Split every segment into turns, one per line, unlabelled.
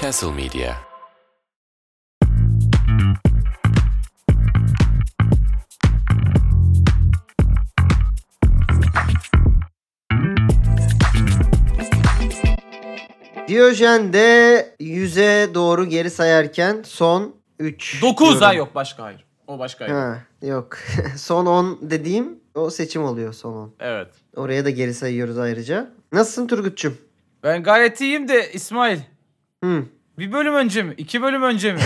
Castle Media
Diyojen de 100'e doğru geri sayarken son 3.
9 ha yok başka hayır. O başka hayır.
Ha, yok. son 10 dediğim o seçim oluyor son 10.
Evet.
Oraya da geri sayıyoruz ayrıca. Nasılsın Turgut'cum?
Ben gayet iyiyim de İsmail.
Hı.
Bir bölüm önce mi? iki bölüm önce mi?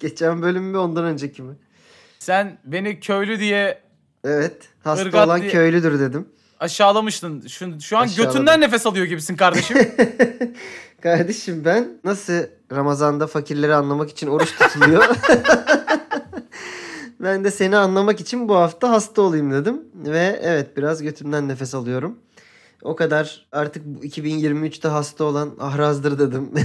Geçen bölüm mü ondan önceki mi?
Sen beni köylü diye
Evet. Hasta
Irgat
olan
diye-
köylüdür dedim.
aşağılamıştın. Şu, şu an
Aşağıladım.
götünden nefes alıyor gibisin kardeşim.
Kardeşim ben nasıl Ramazan'da fakirleri anlamak için oruç tutuluyor? ben de seni anlamak için bu hafta hasta olayım dedim. Ve evet biraz götümden nefes alıyorum. O kadar artık bu 2023'te hasta olan ahrazdır dedim.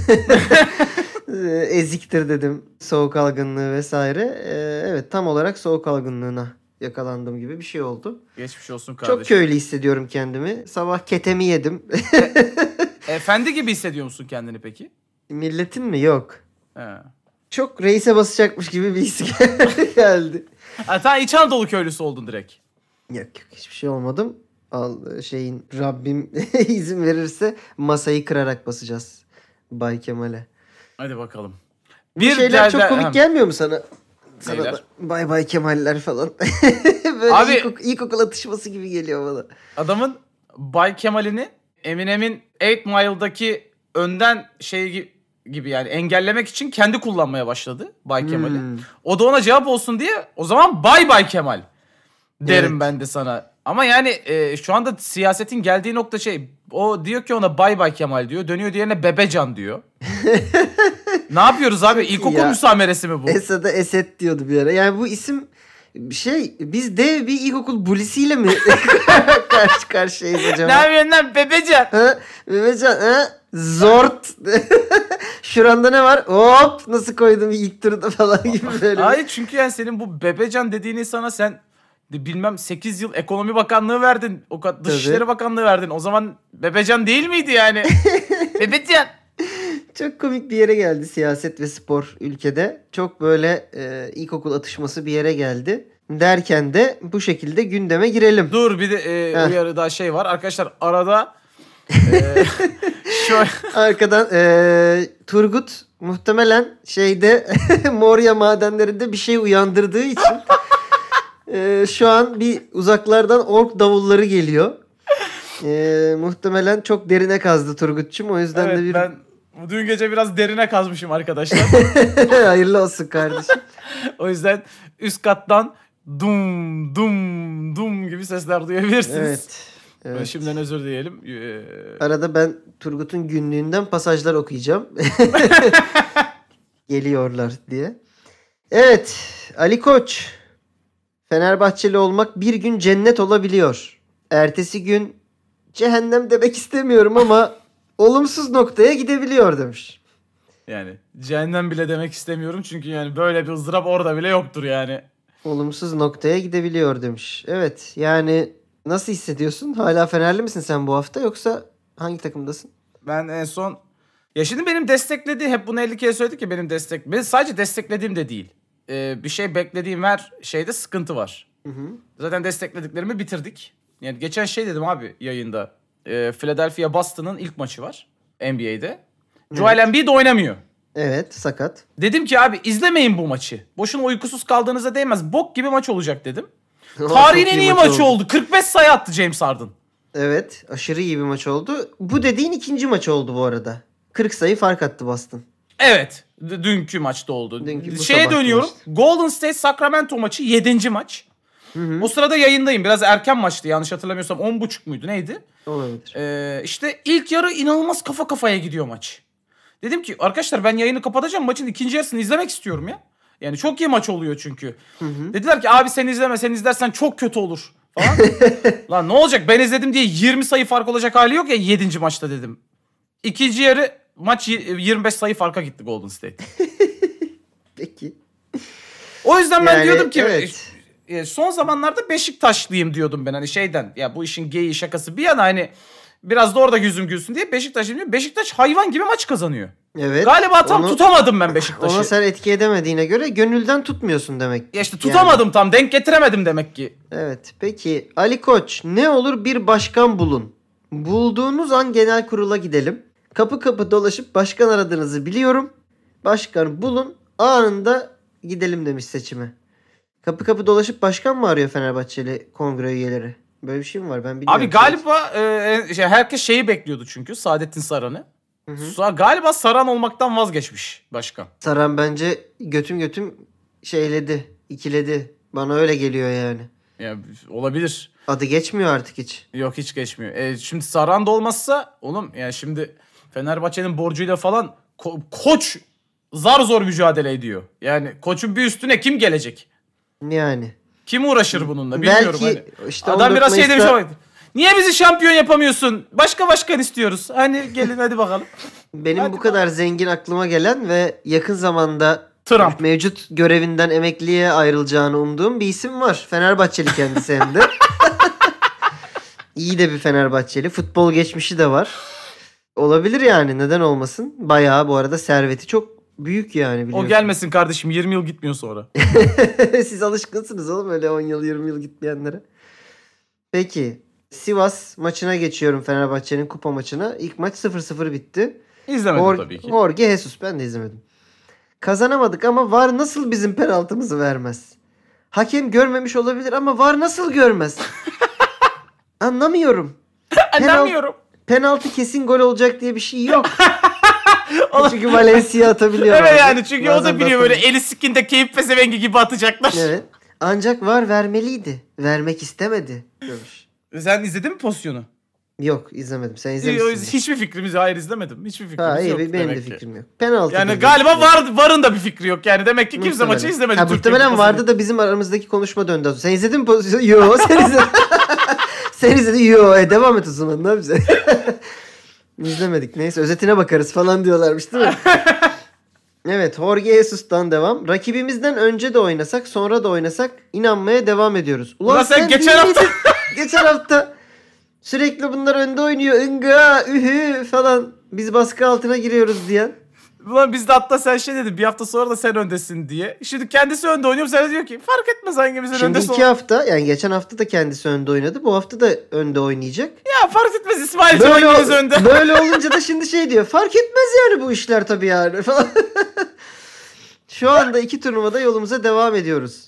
Ee, Eziktir dedim. Soğuk algınlığı vesaire. Ee, Evet tam olarak soğuk algınlığına yakalandım gibi bir şey oldu.
Geçmiş olsun
Çok
kardeşim.
köylü hissediyorum kendimi. Sabah ketemi yedim.
Efendi gibi hissediyor musun kendini peki?
Milletin mi? Yok.
He.
çok reise basacakmış gibi bir his gel- geldi.
Ha, sen İç Anadolu köylüsü oldun direkt.
Yok yok hiçbir şey olmadım. Al şeyin Rabbim izin verirse masayı kırarak basacağız Bay Kemal'e.
Hadi bakalım.
Bir şeyler çok
derden-
komik
Hem.
gelmiyor mu sana? Sana
Neyler?
da Bay Bay Kemal'ler falan. Böyle
Abi-
ilkok- ilkokul atışması gibi geliyor bana.
Adamın Bay Kemal'ini Eminem'in 8 Mile'daki önden şey gi- gibi yani engellemek için kendi kullanmaya başladı Bay Kemal'i.
Hmm.
O da ona cevap olsun diye o zaman Bay Bay Kemal derim
Evet.
ben de sana. Ama yani e, şu anda siyasetin geldiği nokta şey o diyor ki ona Bay Bay Kemal diyor. Dönüyor diğerine Bebecan diyor. ne yapıyoruz abi?
Çok iyi
İlkokul
ya.
müsameresi mi bu?
Esad'a Esed diyordu bir ara. Yani bu isim şey biz dev bir ilkokul bulisiyle mi karşı karşıyayız acaba?
ne yapıyorsun lan Bebecan?
Ha? Mehmetcan ha? Zort. Şuranda ne var? Hop nasıl koydum ilk turda falan gibi böyle. bir-
Hayır çünkü yani senin bu bebecan dediğini sana sen de bilmem 8 yıl ekonomi bakanlığı verdin. O kadar
Tabii.
dışişleri bakanlığı verdin. O zaman bebecan değil miydi yani? bebecan.
Çok komik bir yere geldi siyaset ve spor ülkede. Çok böyle e, ilkokul atışması bir yere geldi. Derken de bu şekilde gündeme girelim.
Dur bir de e,
Heh.
uyarı daha şey var. Arkadaşlar arada e, şöyle
Arkadan e, Turgut muhtemelen şeyde Morya madenlerinde bir şey uyandırdığı için e, şu an bir uzaklardan ork davulları geliyor. E, muhtemelen çok derine kazdı Turgut'cum o yüzden
evet,
de bir
ben dün gece biraz derine kazmışım arkadaşlar.
hayırlı olsun kardeşim.
o yüzden üst kattan dum dum dum gibi sesler duyabilirsiniz.
evet. evet.
Şimdiden özür dileyelim. E,
Arada ben Turgut'un günlüğünden pasajlar okuyacağım. Geliyorlar diye. Evet, Ali Koç. Fenerbahçeli olmak bir gün cennet olabiliyor. Ertesi gün cehennem demek istemiyorum ama olumsuz noktaya gidebiliyor demiş.
Yani cehennem bile demek istemiyorum çünkü yani böyle bir ızdırap orada bile yoktur yani.
Olumsuz noktaya gidebiliyor demiş. Evet, yani nasıl hissediyorsun? Hala Fenerli misin sen bu hafta yoksa hangi takımdasın?
Ben en son ya şimdi benim desteklediğim hep bunu 50 kere söyledik ya benim destek. Ben sadece desteklediğim de değil. Ee, bir şey beklediğim her şeyde sıkıntı var.
Hı hı.
Zaten desteklediklerimi bitirdik. Yani geçen şey dedim abi yayında. Ee, Philadelphia Boston'ın ilk maçı var NBA'de. Joel Embiid oynamıyor.
Evet, sakat.
Dedim ki abi izlemeyin bu maçı. Boşuna uykusuz kaldığınıza değmez. Bok gibi maç olacak dedim. Tarihin en iyi maçı oldu. 45 sayı attı James Harden.
Evet. Aşırı iyi bir maç oldu. Bu dediğin ikinci maç oldu bu arada. 40 sayı fark attı Boston.
Evet. d- Dünkü maçta oldu.
Dünkü bu
Şeye
sabahki
dönüyorum. Golden State Sacramento maçı 7. maç.
hı.
O sırada yayındayım. Biraz erken maçtı yanlış hatırlamıyorsam. 10.30 muydu neydi?
Olabilir.
Ee, işte ilk yarı inanılmaz kafa kafaya gidiyor maç. Dedim ki arkadaşlar ben yayını kapatacağım. Maçın ikinci yarısını izlemek istiyorum ya. Yani çok iyi maç oluyor çünkü. Dediler ki abi sen izleme sen izlersen çok kötü olur falan. Lan ne olacak ben izledim diye 20 sayı fark olacak hali yok ya 7. maçta dedim. İkinci yarı maç y- 25 sayı farka gitti Golden State.
Peki.
O yüzden ben
Yani,
diyordum ki
evet.
e, son zamanlarda Beşiktaşlıyım diyordum ben hani şeyden ya bu işin geyi şakası bir yana hani Biraz da orada yüzüm gülsün diye Beşiktaş şimdi Beşiktaş hayvan gibi maç kazanıyor.
Evet.
Galiba tam
onu-
tutamadım ben
Ona
Beşiktaş'ı.
sen etki edemediğine göre gönülden tutmuyorsun demek.
Ya işte tutamadım tam denk getiremedim demek ki.
Evet. Peki Ali Koç ne olur bir başkan bulun. Bulduğunuz an genel kurula gidelim. Kapı kapı dolaşıp başkan aradığınızı biliyorum. Başkan bulun. Anında gidelim demiş seçime. Kapı kapı dolaşıp başkan mı arıyor Fenerbahçeli kongre üyeleri? Böyle bir şey mi var? Ben bilmiyorum.
Abi galiba e, şey, herkes şeyi bekliyordu çünkü Saadettin Saran'ı.
Hı hı.
Sa- Galiba Saran olmaktan vazgeçmiş başkan.
Saran bence götüm götüm şeyledi, ikiledi. Bana öyle geliyor yani.
Ya, olabilir.
Adı geçmiyor artık hiç.
Yok hiç geçmiyor. E, şimdi Saran da olmazsa oğlum yani şimdi Fenerbahçe'nin borcuyla falan ko- koç zar zor mücadele ediyor. Yani koçun bir üstüne kim gelecek?
Yani.
Kim uğraşır bununla bilmiyorum.
Belki
hani.
işte
Adam
14
biraz şey demiş
Mayıs'ta-
ama niye bizi şampiyon yapamıyorsun? Başka başkan istiyoruz. Hani gelin hadi bakalım.
Benim
Hadi
bu kadar zengin aklıma gelen ve yakın zamanda
Trump.
mevcut görevinden emekliye ayrılacağını umduğum bir isim var. Fenerbahçeli kendisi hem de. İyi de bir Fenerbahçeli. Futbol geçmişi de var. Olabilir yani neden olmasın. Bayağı bu arada serveti çok büyük yani biliyorsun.
O gelmesin kardeşim 20 yıl gitmiyor sonra.
Siz alışkınsınız oğlum öyle 10 yıl 20 yıl gitmeyenlere. Peki Sivas maçına geçiyorum Fenerbahçe'nin kupa maçına. İlk maç 0-0 bitti.
İzlemedim
Hor-
tabii ki.
Jorge Jesus ben de izlemedim. Kazanamadık ama VAR nasıl bizim penaltımızı vermez? Hakem görmemiş olabilir ama VAR nasıl görmez? Anlamıyorum.
Anlamıyorum.
Penaltı kesin gol olacak diye bir şey yok. E çünkü Valencia atabiliyor.
Evet
bazen.
yani çünkü o
Bazen
da
de
biliyor böyle
atabiliyor.
eli sikinde keyif pezevengi gibi atacaklar.
Evet. Ancak VAR vermeliydi. Vermek istemedi demiş.
Sen izledin mi pozisyonu?
Yok izlemedim. Sen
Yo,
izlemişsin.
Hiçbir fikrimiz hayır izlemedim. Hiçbir fikrimiz
Ha, iyi,
yok.
benim de
demek ki.
fikrim yok. Penaltı.
Yani
dedi.
galiba var, varın da bir fikri yok. Yani demek ki kimse
Muhtemelen.
maçı izlemedi.
Ha,
Türkiye
muhtemelen
Kupası'nı.
vardı da bizim aramızdaki konuşma döndü. Sen izledin mi pozisyonu? Yo sen izledin. sen izledin. Yo e, devam et o zaman ne yapacağız? İzlemedik neyse özetine bakarız falan diyorlarmış değil mi? evet Jorge Jesus'tan devam. Rakibimizden önce de oynasak sonra da oynasak inanmaya devam ediyoruz.
Ulan sen geçen
değil
hafta-
miydin? geçen hafta sürekli bunlar önde oynuyor. Inga, ühü falan. Biz baskı altına giriyoruz diyen.
Ulan biz de hatta sen şey dedin bir hafta sonra da sen öndesin diye. Şimdi kendisi önde oynuyor. Sen de diyor ki fark etmez hangimizin
Şimdi
önde
iki
sol.
hafta yani geçen hafta da kendisi önde oynadı. Bu hafta da önde oynayacak.
Ya fark etmez İsmail
Böyle,
hangimiz önde.
böyle olunca da şimdi şey diyor. Fark etmez yani bu işler tabii yani falan. Şu anda iki turnuvada yolumuza devam ediyoruz.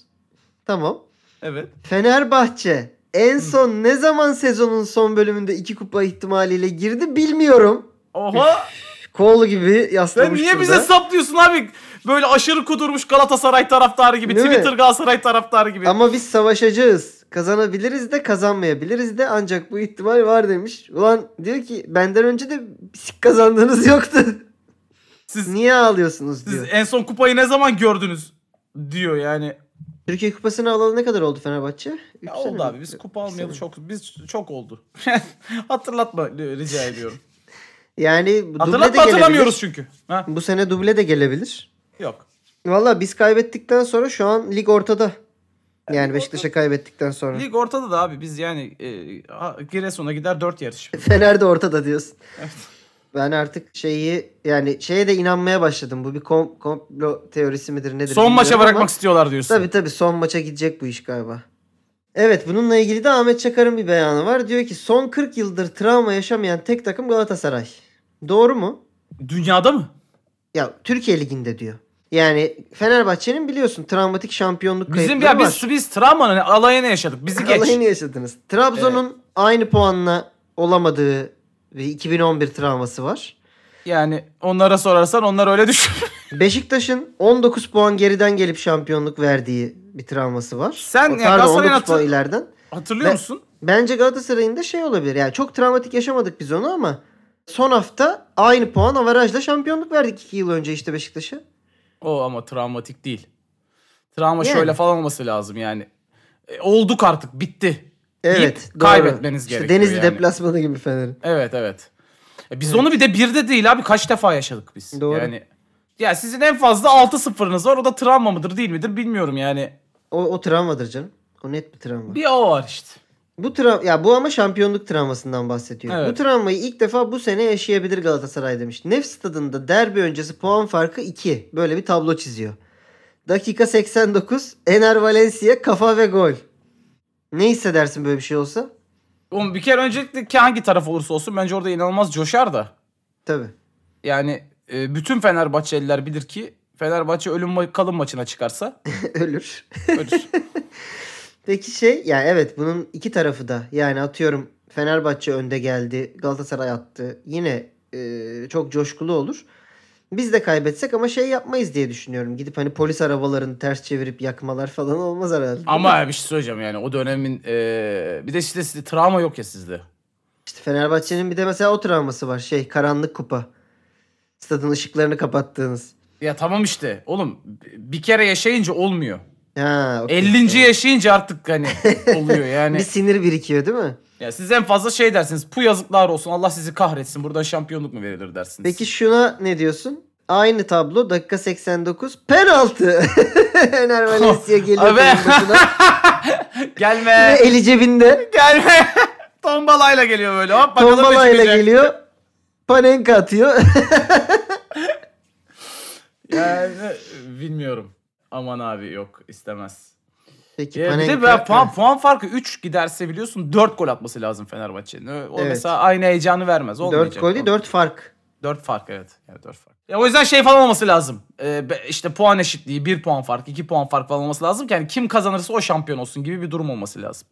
Tamam.
evet.
Fenerbahçe en son ne zaman sezonun son bölümünde iki kupa ihtimaliyle girdi bilmiyorum.
Oha.
Kol gibi
Sen
yaslamış
niye
burada.
bize saplıyorsun abi? Böyle aşırı kudurmuş Galatasaray taraftarı gibi.
Değil mi?
Twitter Galatasaray taraftarı gibi.
Ama biz savaşacağız. Kazanabiliriz de kazanmayabiliriz de ancak bu ihtimal var demiş. Ulan diyor ki benden önce de sik kazandığınız yoktu.
Siz,
Niye ağlıyorsunuz
siz e-
diyor.
en son kupayı ne zaman gördünüz? Diyor yani.
Türkiye Kupası'nı alalı ne kadar oldu Fenerbahçe? Üç
Ya
sene
oldu
mi?
abi biz kupa
Üç
almayalı
sene.
çok biz çok oldu. Hatırlatma e, rica ediyorum.
Yani bu duble de
Hatırlatma
gelebilir.
hatırlamıyoruz çünkü. Ha?
Bu sene duble de gelebilir.
Yok.
Valla biz kaybettikten sonra şu an lig ortada.
E,
Yani Beşiktaş'a kaybettikten sonra.
Lig ortada da abi biz yani e, ha- Giresun'a gider 4 yarış.
Fener de ortada diyorsun. Ben artık şeyi yani şeye de inanmaya başladım. Bu bir kom- komplo teorisi midir nedir?
Son maça
bilmiyorum
bırakmak
ama-
istiyorlar diyorsun.
Tabii tabii son maça gidecek bu iş galiba. Evet bununla ilgili de Ahmet Çakar'ın bir beyanı var. Diyor ki son 40 yıldır travma yaşamayan tek takım Galatasaray. Doğru mu?
Dünyada mı?
Ya Türkiye Ligi'nde diyor. Yani Fenerbahçe'nin biliyorsun travmatik şampiyonluk
Bizim
kayıpları
ya
var.
biz biz travmanın alayını yaşadık. Bizi geç.
Alayını yaşadınız. Trabzon'un aynı puanla olamadığı ve 2011 travması var.
Yani onlara sorarsan onlar öyle düşün.
Beşiktaş'ın 19 puan geriden gelip şampiyonluk verdiği bir travması var.
Sen
O-
ya
Pardon
Galatasaray'ın
19 puan
hatır-
ileriden.
Hatırlıyor
Ben-
musun?
Bence Galatasaray'ın da şey olabilir. Yani çok travmatik yaşamadık biz onu ama son hafta aynı puan averajla şampiyonluk verdik 2 yıl önce işte Beşiktaş'a.
O ama travmatik değil. Travma
Yani.
şöyle falan olması lazım yani. E, olduk artık bitti.
Evet.
Deyip kaybetmeniz
işte
gerekiyor
Denizli
yani.
deplasmanı gibi Fener'in.
Evet evet. E, biz onu bir de bir de değil abi kaç defa yaşadık biz.
Doğru.
Yani ya sizin en fazla 6-0'ınız var. O da travma mıdır değil midir bilmiyorum yani.
O, o travmadır canım. O net bir travma.
Bir o var işte.
Bu tra ya bu ama şampiyonluk travmasından bahsediyor.
Evet.
Bu travmayı ilk defa bu sene yaşayabilir Galatasaray demiş. Nef stadında derbi öncesi puan farkı 2. Böyle bir tablo çiziyor. Dakika 89 Ener Valencia kafa ve gol. Ne hissedersin böyle bir şey olsa?
Oğlum bir kere öncelikle ki hangi taraf olursa olsun bence orada inanılmaz coşar da.
Tabii.
Yani e, bütün Fenerbahçeliler bilir ki Fenerbahçe ölüm ma- kalım maçına çıkarsa
Ölür.
ölür.
Peki şey yani evet bunun iki tarafı da yani atıyorum Fenerbahçe önde geldi Galatasaray attı yine e, çok coşkulu olur. Biz de kaybetsek ama şey yapmayız diye düşünüyorum. Gidip hani polis arabalarını ters çevirip yakmalar falan olmaz herhalde.
Ama bir şey söyleyeceğim yani o dönemin e, bir de işte sizde travma yok ya sizde.
İşte Fenerbahçe'nin bir de mesela o travması var şey karanlık kupa. Stadın ışıklarını kapattığınız.
Ya tamam işte oğlum bir kere yaşayınca olmuyor.
Ha, okey.
50. yaşayınca artık hani oluyor yani.
Bir sinir birikiyor değil mi?
Ya siz en fazla şey dersiniz. Bu yazıklar olsun. Allah sizi kahretsin. Buradan şampiyonluk mu verilir dersiniz.
Peki şuna ne diyorsun? Aynı tablo dakika 89 penaltı. Ener Valencia geliyor.
Abi.
takım başına. Ve
gelme.
eli cebinde.
gelme. Tombalayla geliyor böyle. Hop bakalım ne
Tombalayla
çıkacak.
geliyor. Panenka atıyor.
Yani bilmiyorum. Aman abi yok istemez.
Peki
Ya bir de
Panenka-
ben puan, puan farkı 3 giderse biliyorsun 4 gol atması lazım Fenerbahçe'nin. Ö- O
Evet.
mesela aynı heyecanı vermez. Olmayacak.
Dört gol değil, dört fark.
4 fark evet. Yani 4 fark. Ya o yüzden şey falan olması lazım. Ee, be- işte puan eşitliği, 1 puan fark, 2 puan fark falan olması lazım ki yani kim kazanırsa o şampiyon olsun gibi bir durum olması lazım.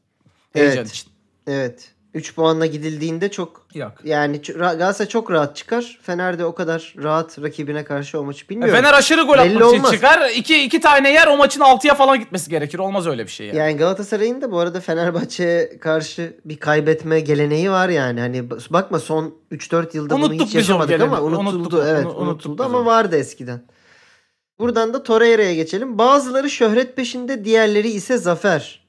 Heyecan
Evet.
için.
Evet. 3 puanla gidildiğinde çok
Yok. E,
yani ç- ra- Galatasaray çok rahat çıkar. Fener de o kadar rahat rakibine karşı o maçı
Ya
bilmiyorum.
E, Fener aşırı gol
Belli
atmak için
olmaz.
çıkar. İki, iki tane yer o maçın 6'ya falan gitmesi gerekir. Olmaz öyle bir şey yani.
yani Galatasaray'ın da bu arada Fenerbahçe'ye karşı bir kaybetme geleneği var yani. Hani bak- bakma son 3-4 yılda bunu hiç
Unuttuk biz o
yaşamadık ama
geleneği.
unutuldu.
Unuttuk, onu-
evet,
unuttuk
unutuldu
biz
ama
onu.
vardı eskiden. Buradan da Torreira'ya geçelim. Bazıları şöhret peşinde, diğerleri ise zafer.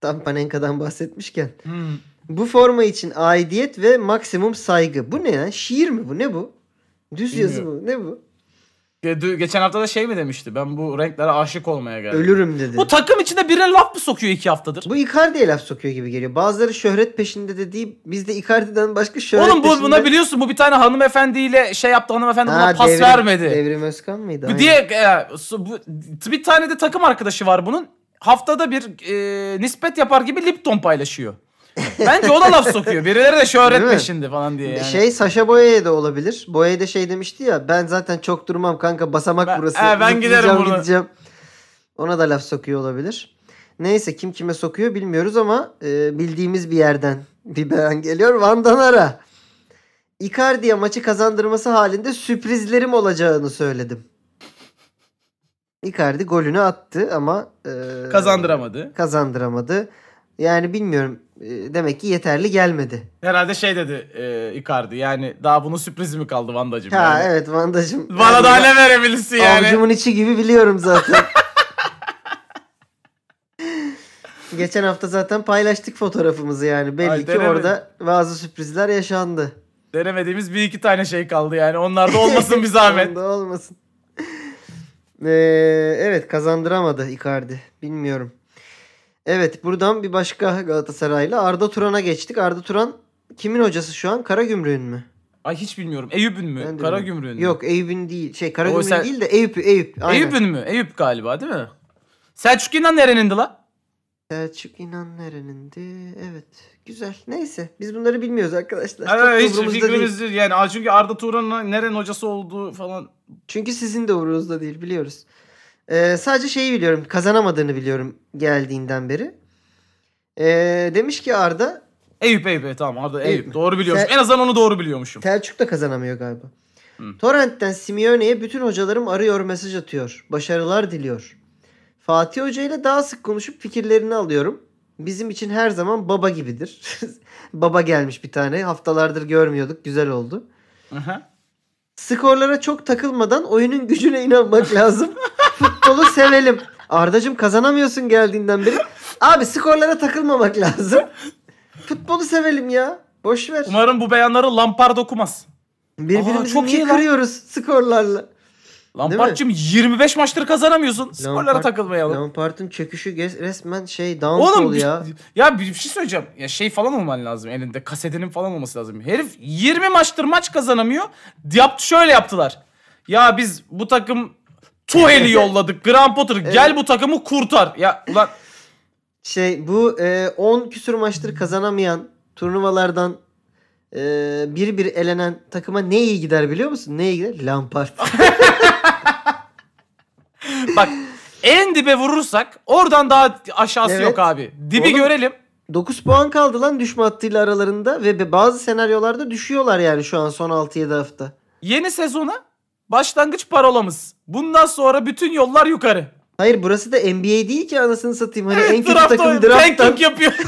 Tam Panenka'dan bahsetmişken.
Hmm.
Bu forma için aidiyet ve maksimum saygı. Bu ne ya? Şiir mi bu? Ne bu? Düz yazı
Bilmiyorum.
mı? Ne bu?
Ge- dü- Geçen hafta da şey mi demişti? Ben bu renklere aşık olmaya geldim.
Ölürüm dedi.
Bu takım içinde birine laf mı sokuyor iki haftadır?
Bu Icardi'ye laf sokuyor gibi geliyor. Bazıları şöhret peşinde dediği biz de Icardi'den başka şöhret
Oğlum bu,
peşinde...
buna biliyorsun bu bir tane hanımefendiyle şey yaptı hanımefendi buna
Ha,
pas
Devrim-
vermedi.
Devrim Özkan mıydı?
Bu
Aynen.
diye e, su- bu, bir tane de takım arkadaşı var bunun. Haftada bir e, nispet yapar gibi Lipton paylaşıyor. Bence ona laf sokuyor. Birileri de
Değil mi?
şöhret peşinde falan diye yani.
Şey Saşa Boya'ya da olabilir. Boya'ya da şey demişti ya ben zaten çok durmam kanka basamak
Ben-
burası.
he, ben
Zıplayacağım,
giderim buradan."
gideceğim. Ona da laf sokuyor olabilir. Neyse kim kime sokuyor bilmiyoruz ama e, bildiğimiz bir yerden bir beyan geliyor. Van Danara. Icardi'ye maçı kazandırması halinde sürprizlerim olacağını söyledim. Icardi golünü attı ama e,
Kazandıramadı.
kazandıramadı. Yani bilmiyorum. e, demek ki yeterli gelmedi.
Herhalde şey dedi e, Icardi yani daha bunun sürprizi mi kaldı Vanda'cığım?
Ha
yani?
evet Vanda'cığım.
Bana daha ne verebilirsin yani?
Avcumun içi gibi biliyorum zaten. Geçen hafta zaten paylaştık fotoğrafımızı yani. Belli
Ay,
ki
denemedim.
orada bazı sürprizler yaşandı.
Denemediğimiz bir iki tane şey kaldı yani. Onlar da olmasın bir zahmet.
Onda olmasın. Ee, evet kazandıramadı Icardi. Bilmiyorum. Evet buradan bir başka Galatasaraylı Arda Turan'a geçtik. Arda Turan kimin hocası şu an? Karagümrük'ün mü?
Ay hiç bilmiyorum. Eyüp'ün mü?
Ben de
Karagümrük'ün mü?
Yok Eyüp'ün değil. Şey Karagümrük'ün
sen-
değil de Eyüp. Eyüp. aynen.
Eyüp'ün mü? Eyüp galiba değil mi? Selçuk İnan nerenindi la?
Selçuk İnan nerenindi? Evet. Güzel. Neyse. Biz bunları bilmiyoruz arkadaşlar. Ee,
Evet,
Çok
hiç
umurumuzda değil.
fikrimiz değil. Yani çünkü Arda Turan'ın nerenin hocası olduğu falan.
Çünkü sizin de umurunuzda değil biliyoruz. Ee, sadece şeyi biliyorum. Kazanamadığını biliyorum geldiğinden beri. Ee, demiş ki Arda
Eyüp Eyüp evet, tamam Arda
Eyüp
Eyüp.
mü?
Doğru biliyormuşum.
Sen-
En azından onu doğru biliyormuşum.
Selçuk da kazanamıyor galiba.
Hı.
Torrent'ten Simeone'ye bütün hocalarım arıyor mesaj atıyor. Başarılar diliyor. Fatih Hoca ile daha sık konuşup fikirlerini alıyorum. Bizim için her zaman baba gibidir. baba gelmiş bir tane. Haftalardır görmüyorduk. Güzel oldu.
Aha.
Skorlara çok takılmadan oyunun gücüne inanmak lazım. Futbolu sevelim. Ardacım kazanamıyorsun geldiğinden beri. Abi skorlara takılmamak lazım. Futbolu sevelim ya. Boş ver.
Umarım bu beyanları Lampard okumaz.
Birbirimizi
Aa, çok
niye
iyi lan.
kırıyoruz skorlarla?
Lampard'cığım 25 maçtır kazanamıyorsun. Skorlara
Lampard-
takılmayalım.
Lampard'ın çöküşü ges- resmen şey downfall
Oğlum
ya.
ya. ya bir bir şey söyleyeceğim. Ya şey falan olman lazım elinde. Kasetinin falan olması lazım. Herif 20 maçtır maç kazanamıyor. Yaptı şöyle yaptılar. Ya biz bu takım Tuhel'i yolladık. Graham Potter gel bu takımı kurtar. Ya ulan
Şey bu e, 10 küsur maçtır kazanamayan turnuvalardan e, bir bir elenen takıma ne iyi gider biliyor musun? Ne iyi gider? Lampard.
bak en dibe vurursak oradan daha aşağısı
Evet.
yok abi. Dibi
Oğlum-
görelim.
9 puan kaldı lan düşme hattıyla aralarında ve be- bazı senaryolarda düşüyorlar yani şu an son 6-7 hafta.
Yeni sezona başlangıç parolamız. Bundan sonra bütün yollar yukarı.
Hayır burası da NBA değil ki anasını satayım. Hani en kötü
Draft
takım
oyun-
drafttan,
tanking yapıyor.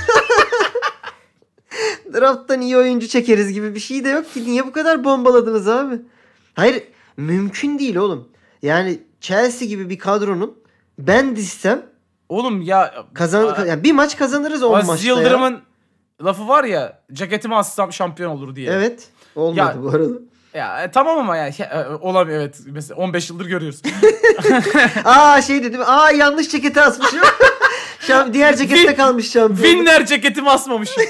drafttan iyi oyuncu çekeriz gibi bir şey de yok ki. Niye bu kadar bombaladınız abi? Hayır mümkün değil oğlum. Yani Chelsea gibi bir kadronun ben dizsem
Oğlum ya
kazan
Aa.
yani bir maç kazanırız 10
Aziz
maçta ya.
Yıldırım'ın lafı var ya ceketimi assam şampiyon olur diye.
Evet. Olmadı
Ya-
bu arada.
Ya e, tamam ama ya, ya, e, olamıyor evet. Mesela 15 yıldır görüyoruz.
Aa şey dedim. Aa yanlış ceketi asmışım. Şam, diğer cekette
Win-
kalmış şampiyon.
Winner ceketimi asmamışım.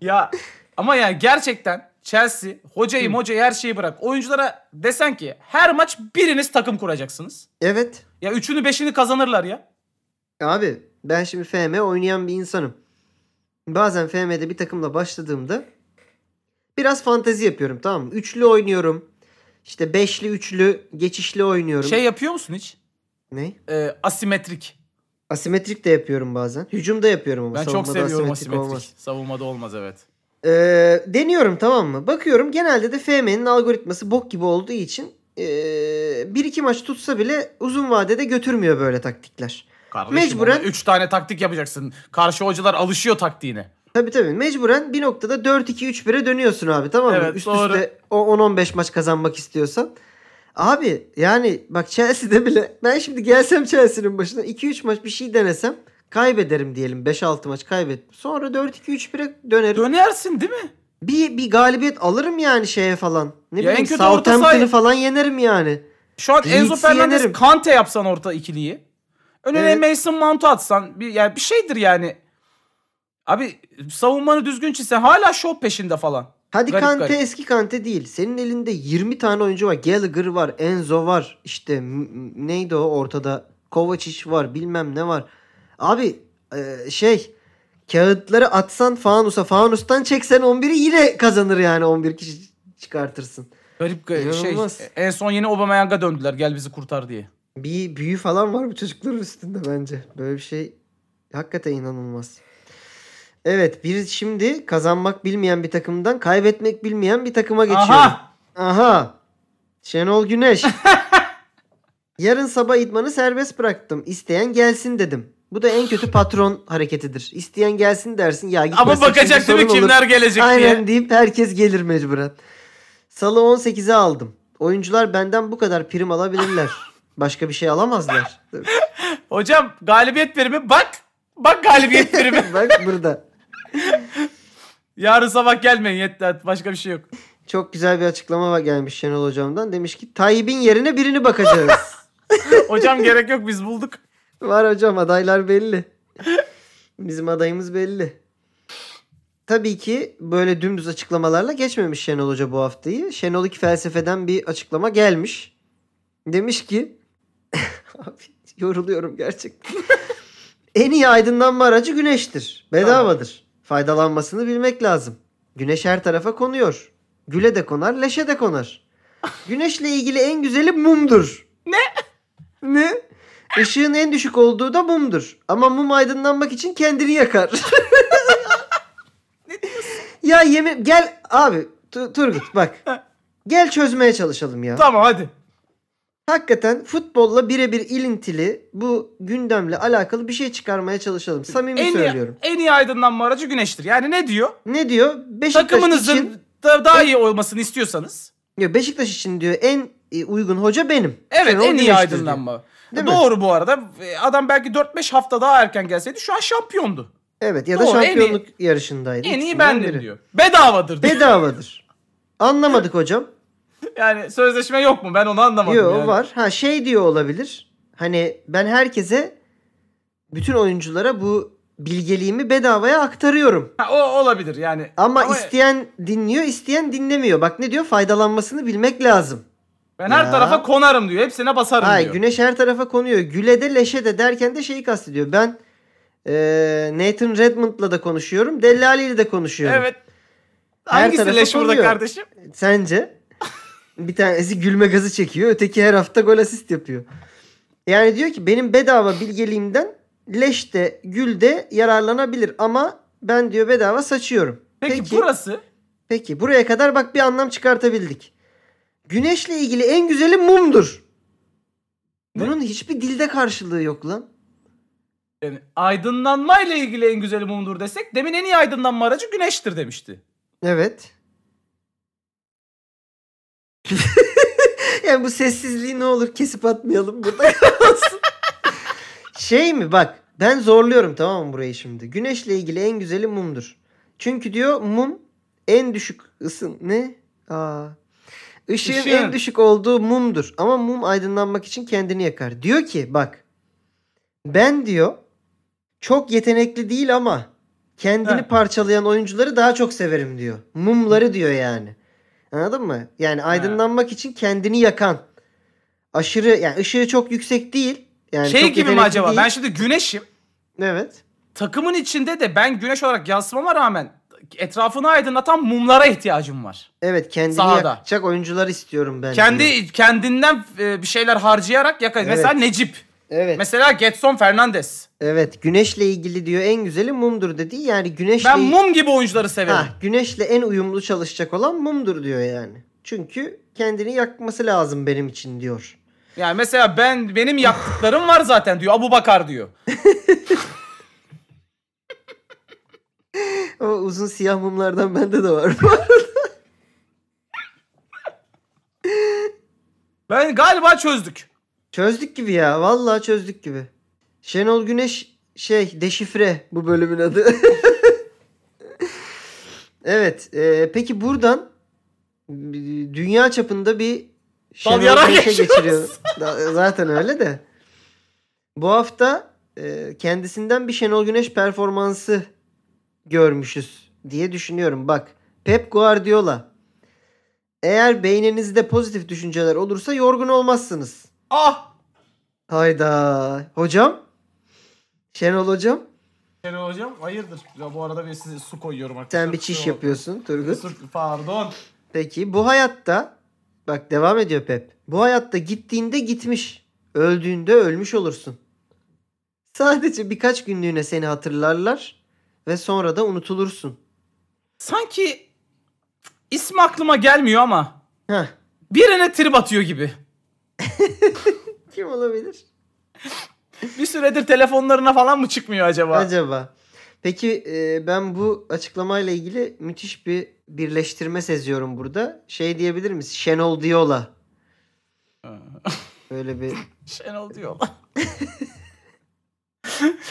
ya ama ya gerçekten Chelsea hocayı hocayı her şeyi bırak. Oyunculara desen ki her maç biriniz takım kuracaksınız.
Evet.
Ya üçünü beşini kazanırlar ya.
Abi ben şimdi FM oynayan bir insanım. Bazen FM'de bir takımla başladığımda biraz fantezi yapıyorum tamam mı? Üçlü oynuyorum. İşte beşli üçlü geçişli oynuyorum.
Şey yapıyor musun hiç?
ne?
E, asimetrik.
Asimetrik de yapıyorum bazen. Hücumda yapıyorum ama
Ben çok
savunmada
seviyorum
asimetrik
asimetrik.
olmaz.
Savunmada olmaz evet.
Ee, deniyorum tamam mı? Bakıyorum genelde de FM'nin algoritması bok gibi olduğu için ee, bir iki maç tutsa bile uzun vadede götürmüyor böyle taktikler.
Kardeşim
Mecburen-
Mecburen. 3 tane taktik yapacaksın. Karşı hocalar alışıyor taktiğine.
Tabii tabii. Mecburen bir noktada 4-2-3-1'e dönüyorsun abi tamam mı?
Evet,
Üst
doğru.
üste o 10-15 maç kazanmak istiyorsan. Abi yani bak Chelsea'de bile ben şimdi gelsem Chelsea'nin başına 2-3 maç bir şey denesem kaybederim diyelim 5-6 maç kaybettim. Sonra 4-2-3-1'e dönerim.
Dönersin değil mi?
bir, bir galibiyet alırım yani şeye falan. Ne
Ya en
bileyim
kötü orta
Southampton'ı
sahaya-
falan yenerim yani.
Şu an Enzo
Leeds'i
Fernandez
yenerim.
Kante yapsan orta ikiliyi. Önüne
Evet.
Mason Mount'u atsan bir yani bir şeydir yani. Abi savunmanı düzgün çizsen hala şov peşinde falan.
Hadi
Garip,
Kante
garip.
eski Kante değil. Senin elinde 20 tane oyuncu var. Gallagher var, Enzo var. İşte m- m- neydi o ortada? Kovacic var, bilmem ne var. Abi e, şey kağıtları atsan Fanus'a, Fanus'tan çeksen 11'i yine kazanır yani 11 kişi çıkartırsın.
Garip garip şey.
İnanılmaz.
En son yeni Aubameyang'a döndüler gel bizi kurtar diye.
Bir büyü falan var bu çocukların üstünde bence. Böyle bir şey hakikaten inanılmaz. Evet, bir şimdi kazanmak bilmeyen bir takımdan kaybetmek bilmeyen bir takıma geçiyorum.
Aha!
Aha. Şenol Güneş. Yarın sabah idmanı serbest bıraktım. İsteyen gelsin dedim. Bu da en kötü patron hareketidir. İsteyen gelsin dersin. Ya gitmesin
Ama bakacak
çünkü
değil mi
sorun olur.
kimler gelecek
Aynen
diye.
deyip herkes gelir mecburen. Salı 18'e aldım. Oyuncular benden bu kadar prim alabilirler. Başka bir şey alamazlar.
Hocam galibiyet primi bak. Bak galibiyet primi.
Bak burada.
Yarın sabah gelmeyin yeter başka bir şey yok.
Çok güzel bir açıklama gelmiş Şenol hocamdan. Demiş ki Tayyip'in yerine birini bakacağız.
Hocam gerek yok biz bulduk.
Var hocam adaylar belli. Bizim adayımız belli. Tabii ki böyle dümdüz açıklamalarla geçmemiş Şenol Hoca bu haftayı. Şenol 2 felsefeden bir açıklama gelmiş. Demiş ki Abi yoruluyorum gerçekten. en iyi aydınlanma aracı güneştir. Bedavadır. Faydalanmasını bilmek lazım. Güneş her tarafa konuyor. Güle de konar, leşe de konar. Güneşle ilgili en güzeli mumdur. Ne? Ne? Işığın en düşük olduğu da mumdur. Ama mum aydınlanmak için kendini yakar. ya yemin gel abi Tu- Turgut bak. Gel çözmeye çalışalım ya.
Tamam hadi.
Hakikaten futbolla birebir ilintili bu gündemle alakalı bir şey çıkarmaya çalışalım. Samimi
En iyi,
söylüyorum.
en iyi aydınlanma aracı güneştir. Yani ne diyor?
Ne diyor? Beşiktaş
Takımınızın
için
da- daha iyi olmasını istiyorsanız
diyor Beşiktaş için diyor en e, uygun hoca benim.
evet
Şenol
en iyi
Güneş'tir diyor.
aydınlanma.
Değil mi?
Doğru bu arada. E, Adam belki 4-5 hafta daha erken gelseydi şu an şampiyondu.
Evet ya da
Doğru, en iyi-
şampiyonluk yarışındaydı.
En iyi
İkisinden
bendim
biri.
diyor. Bedavadır diyor.
Bedavadır. Anlamadık hocam.
Yani sözleşme yok mu? Ben onu anlamadım.
Yo
yani.
var. Ha şey diyor olabilir. Hani ben herkese bütün oyunculara bu bilgeliğimi bedavaya aktarıyorum.
Ha, o olabilir yani.
Ama, isteyen dinliyor, isteyen dinlemiyor. Bak ne diyor? Faydalanmasını bilmek lazım.
ben her
Ya.
tarafa konarım diyor. Hepsine basarım
Ay
diyor.
güneş her tarafa konuyor. Güle de leşe de derken de şeyi kastediyor. Ben eee Nathan Redmond'la da konuşuyorum. Dellali ile de konuşuyorum.
Evet.
Her
Hangisi
tarafa
leş burada
konuyor.
kardeşim?
Sence? Bir tanesi gülme gazı çekiyor. Öteki her hafta gol asist yapıyor. Yani diyor ki benim bedava bilgeliğimden leş de gül de yararlanabilir ama ben diyor bedava saçıyorum.
Peki, burası
Peki buraya kadar bak bir anlam çıkartabildik. Güneşle ilgili en güzeli mumdur.
Ne?
Bunun hiçbir dilde karşılığı yok lan.
yani aydınlanmayla ilgili en güzeli mumdur desek demin en iyi aydınlanma aracı güneştir demişti.
Evet. yani bu sessizliği ne olur kesip atmayalım burada kalsın. şey mi bak ben zorluyorum tamam mı burayı şimdi. Güneşle ilgili en güzeli mumdur. Çünkü diyor mum en düşük ısın ne? Aa. Işığın
Işığın.
en düşük olduğu mumdur. Ama mum aydınlanmak için kendini yakar. Diyor ki bak ben diyor çok yetenekli değil ama kendini
He.
parçalayan oyuncuları daha çok severim diyor. Mumları diyor yani. Anladın mı? Yani aydınlanmak için kendini yakan. Aşırı yani ışığı çok yüksek değil. Yani
şey
çok
gibi mi
yetenekli
acaba?
değil.
Ben şimdi güneşim.
Evet.
Takımın içinde de ben güneş olarak yansımama rağmen etrafını aydınlatan mumlara ihtiyacım var.
Evet kendini
Sahada.
yakacak oyuncular istiyorum ben. diyor.
Kendi kendinden e, bir şeyler harcayarak yakar.
Evet.
Mesela Necip.
Evet.
Mesela Getson Fernandes.
evet. Güneşle ilgili diyor en güzeli mumdur dediği yani güneşle
Ben mum gibi oyuncuları severim.
Şey- Ha, güneşle en uyumlu çalışacak olan mumdur diyor yani. Çünkü kendini yakması lazım benim için diyor.
Yani mesela ben benim yaktıklarım var zaten diyor. Abu Bakar diyor.
O uzun siyah mumlardan bende de var.
Ben galiba çözdük.
çözdük gibi ya. Vallahi çözdük gibi. Şenol Güneş şey deşifre bu bölümün adı. evet. e, peki buradan e, dünya çapında bir
yara
Güneş'e
geçiyoruz.
Da- Zaten öyle de. Bu hafta e, kendisinden bir Şenol Güneş performansı görmüşüz diye düşünüyorum. Bak Pep Guardiola. Eğer beyninizde pozitif düşünceler olursa yorgun olmazsınız.
Ah!
Hayda. Hocam? Şenol hocam?
Şenol hocam hayırdır? Ya bu arada ben size su koyuyorum arkadaşlar.
Sen bir çiş
Kusura bakmayın.
yapıyorsun Turgut.
Kusur- Pardon.
Peki bu hayatta bak devam ediyor Pep. Bu hayatta gittiğinde gitmiş. Öldüğünde ölmüş olursun. Sadece birkaç günlüğüne seni hatırlarlar ve sonra da unutulursun.
Sanki ismi aklıma gelmiyor ama
Heh.
birine trip atıyor gibi.
Kim olabilir?
Bir süredir telefonlarına falan mı çıkmıyor acaba?
Acaba. Peki e, ben bu açıklamayla ilgili müthiş bir birleştirme seziyorum burada. Şey diyebilir miyiz? Şenol Diola. Böyle bir
Şenol diyor.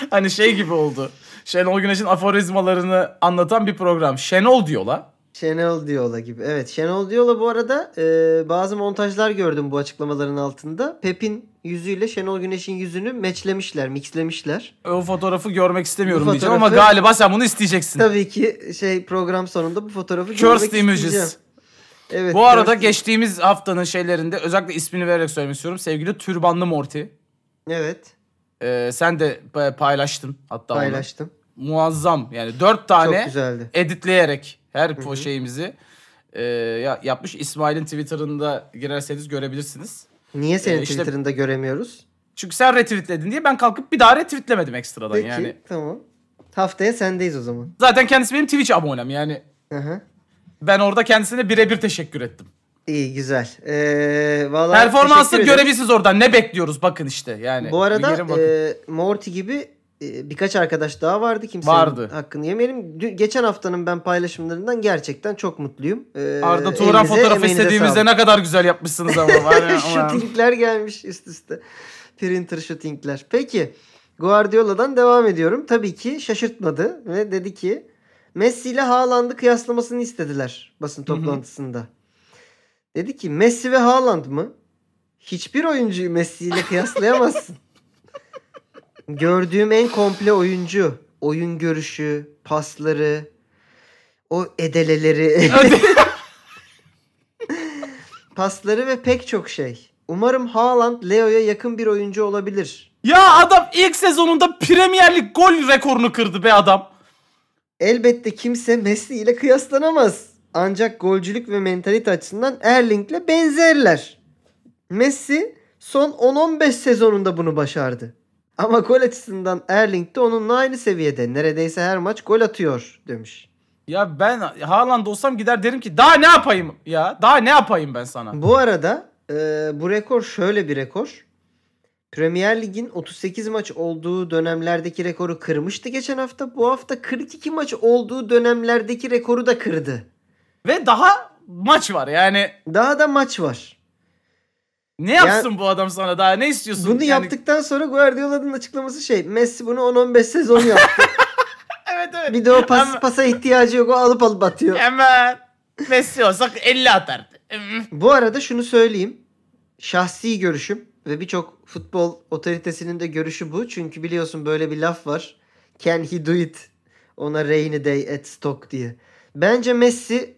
hani şey gibi oldu. Şenol Güneş'in aforizmalarını anlatan bir program. Şenol diyor la.
Şenol Diola gibi. Evet Şenol Diola bu arada e, bazı montajlar gördüm bu açıklamaların altında. Pep'in yüzüyle Şenol Güneş'in yüzünü meçlemişler, mixlemişler.
O fotoğrafı görmek istemiyorum
Bu
diyeceğim ama
fotoğrafı-
galiba sen bunu isteyeceksin.
Tabii ki şey program sonunda bu fotoğrafı
Cursed
görmek isteyeceğim.
Images.
Evet,
Bu arada
cursed-
geçtiğimiz haftanın şeylerinde özellikle ismini vererek söylemek istiyorum. Sevgili Türbanlı Morty.
Evet
Ee, sen de pa- paylaştın hatta onu.
paylaştım.
Muazzam yani. Dört
Çok
tane
güzeldi.
editleyerek her po- şeyimizi e, ya- yapmış. İsmail'in Twitter'ında girerseniz görebilirsiniz.
Niye seni
Ee, işte-
Twitter'ında göremiyoruz?
Çünkü sen retweetledin diye ben kalkıp bir daha retweetlemedim ekstradan
Peki
yani.
tamam. Haftaya sendeyiz o zaman.
Zaten kendisi benim Twitch abonem yani.
Aha.
Ben orada kendisine birebir teşekkür ettim.
İyi güzel. Ee, vallahi
Performansı
teşekkür ederim.
görebilirsiniz oradan. Ne bekliyoruz bakın işte yani.
Bu
Bir gelin
arada
bakın.
e, Morty gibi e, birkaç arkadaş daha vardı. Kimsenin
Vardı.
hakkını yemeyelim. Dün- geçen haftanın ben paylaşımlarından gerçekten çok mutluyum. E,
Arda Turan
elinize,
fotoğrafı
emeğinize
istediğimizde
sağlık.
ne kadar güzel yapmışsınız ama. var ya, ama-
Shootingler gelmiş üst üste. Printer shootingler. Peki Guardiola'dan devam ediyorum. Tabii ki şaşırtmadı ve dedi ki Messi ile Haaland'ı kıyaslamasını istediler basın toplantısında. Dedi ki Messi ve Haaland mı? Hiçbir oyuncuyu Messi ile kıyaslayamazsın. Gördüğüm en komple oyuncu. Oyun görüşü, pasları, o edeleleri. pasları ve pek çok şey. Umarım Haaland Leo'ya yakın bir oyuncu olabilir.
Ya adam ilk sezonunda Premier Lig gol rekorunu kırdı be adam.
Elbette kimse Messi ile kıyaslanamaz. Ancak golcülük ve mentalite açısından Erling'le benzerler. Messi son 10-15 sezonunda bunu başardı. Ama gol açısından Erling de onunla aynı seviyede. Neredeyse her maç gol atıyor demiş.
Ya ben Haaland olsam gider derim ki daha ne yapayım ya? Daha ne yapayım ben sana?
Bu arada e, bu rekor şöyle bir rekor. Premier Lig'in 38 maç olduğu dönemlerdeki rekoru kırmıştı geçen hafta. Bu hafta 42 maç olduğu dönemlerdeki rekoru da kırdı.
Ve daha maç var yani.
Daha da maç var.
Ne yapsın bu adam sana daha? Ne istiyorsun?
Bunu
Yani-
yaptıktan sonra Guardiola'nın açıklaması şey Messi bunu 10-15 sezon yaptı.
Evet evet.
bir de o pas,
Ama-
pasa ihtiyacı yok o alıp alıp atıyor.
Hemen. Messi olsak 50 atardı.
Bu arada şunu söyleyeyim. Şahsi görüşüm ve birçok futbol otoritesinin de görüşü bu. Çünkü biliyorsun böyle bir laf var. Can he do it? Ona rainy day at Stoke diye. Bence Messi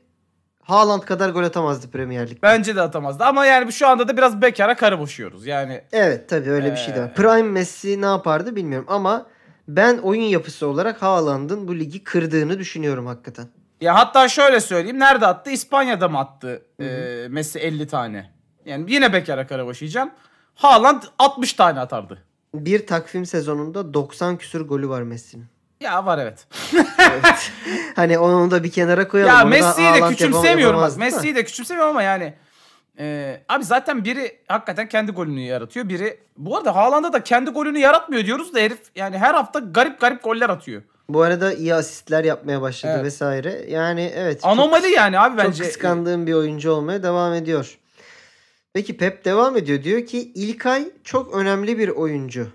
Haaland kadar gol atamazdı Premier Lig'de.
Bence de atamazdı ama yani şu anda da biraz bekara karı boşuyoruz. Yani
Evet tabii öyle bir şey
Ee.
de var. Prime Messi ne yapardı bilmiyorum ama ben oyun yapısı olarak Haaland'ın bu ligi kırdığını düşünüyorum hakikaten.
ya hatta şöyle söyleyeyim. Nerede attı? İspanya'da mı attı? e, Messi 50 tane. Yani yine bekara karı boşayacağım. Haaland 60 tane atardı.
Bir takvim sezonunda 90 küsür golü var Messi'nin.
Ya var evet.
Evet. hani onu da bir kenara koyalım.
Ya
Onu da
Messi'yi de
Haaland
küçümsemiyorum.
yapamaz-
bak.
yapamazdı da.
Messi'yi de küçümsemiyorum ama yani e, abi zaten biri hakikaten kendi golünü yaratıyor. Biri bu arada Haaland'a da kendi golünü yaratmıyor diyoruz da herif yani her hafta garip garip goller atıyor.
Bu arada iyi asistler yapmaya başladı
Evet.
vesaire. Yani evet. çok-
Anomali yani abi
çok,
bence.
kıskandığım bir oyuncu olmaya devam ediyor. Peki Pep devam ediyor. Diyor ki İlkay çok önemli bir oyuncu.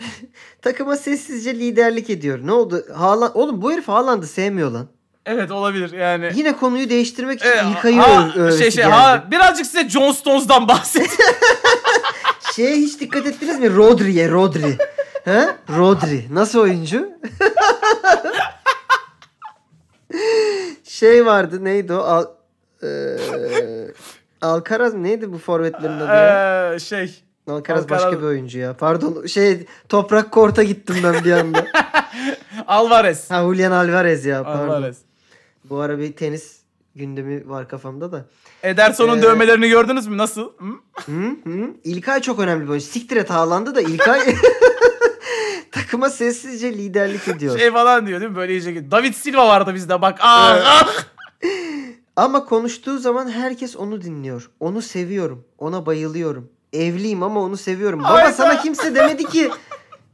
Takıma sessizce liderlik ediyor. Ne oldu? Haaland... Oğlum bu herif Haaland'ı sevmiyor lan.
Evet olabilir yani.
Yine e, konuyu değiştirmek için
Ee,
İlkay'ı
ha-
ö- övesi
şey, şey,
geldi.
ha, birazcık size John Stones'dan bahset.
Şeye hiç dikkat ettiniz mi? Rodri'ye Rodri. ha? Rodri. Nasıl oyuncu? şey vardı neydi o? Al, eee, Alcaraz neydi bu forvetlerin adı ya?
Ee, şey.
Alcaraz,
Alcaraz-
başka bir oyuncu ya. Pardon şey Toprak Kort'a gittim ben bir anda.
Alvarez.
ha Julian Alvarez ya pardon.
Alvarez.
Bu ara bir tenis gündemi var kafamda da.
Ederson'un
Ee,
dövmelerini gördünüz mü? Nasıl? Hı?
Hı hı. İlkay çok önemli bir oyuncu. Siktir et Haaland'ı da İlkay takıma sessizce liderlik ediyor.
Şey falan diyor değil mi? Böyle iyice. David Silva vardı bizde bak. Ah,
Evet.
ah.
Ama konuştuğu zaman herkes onu dinliyor. Onu seviyorum. Ona bayılıyorum. Evliyim ama onu seviyorum. Baba
Hayda.
sana kimse demedi ki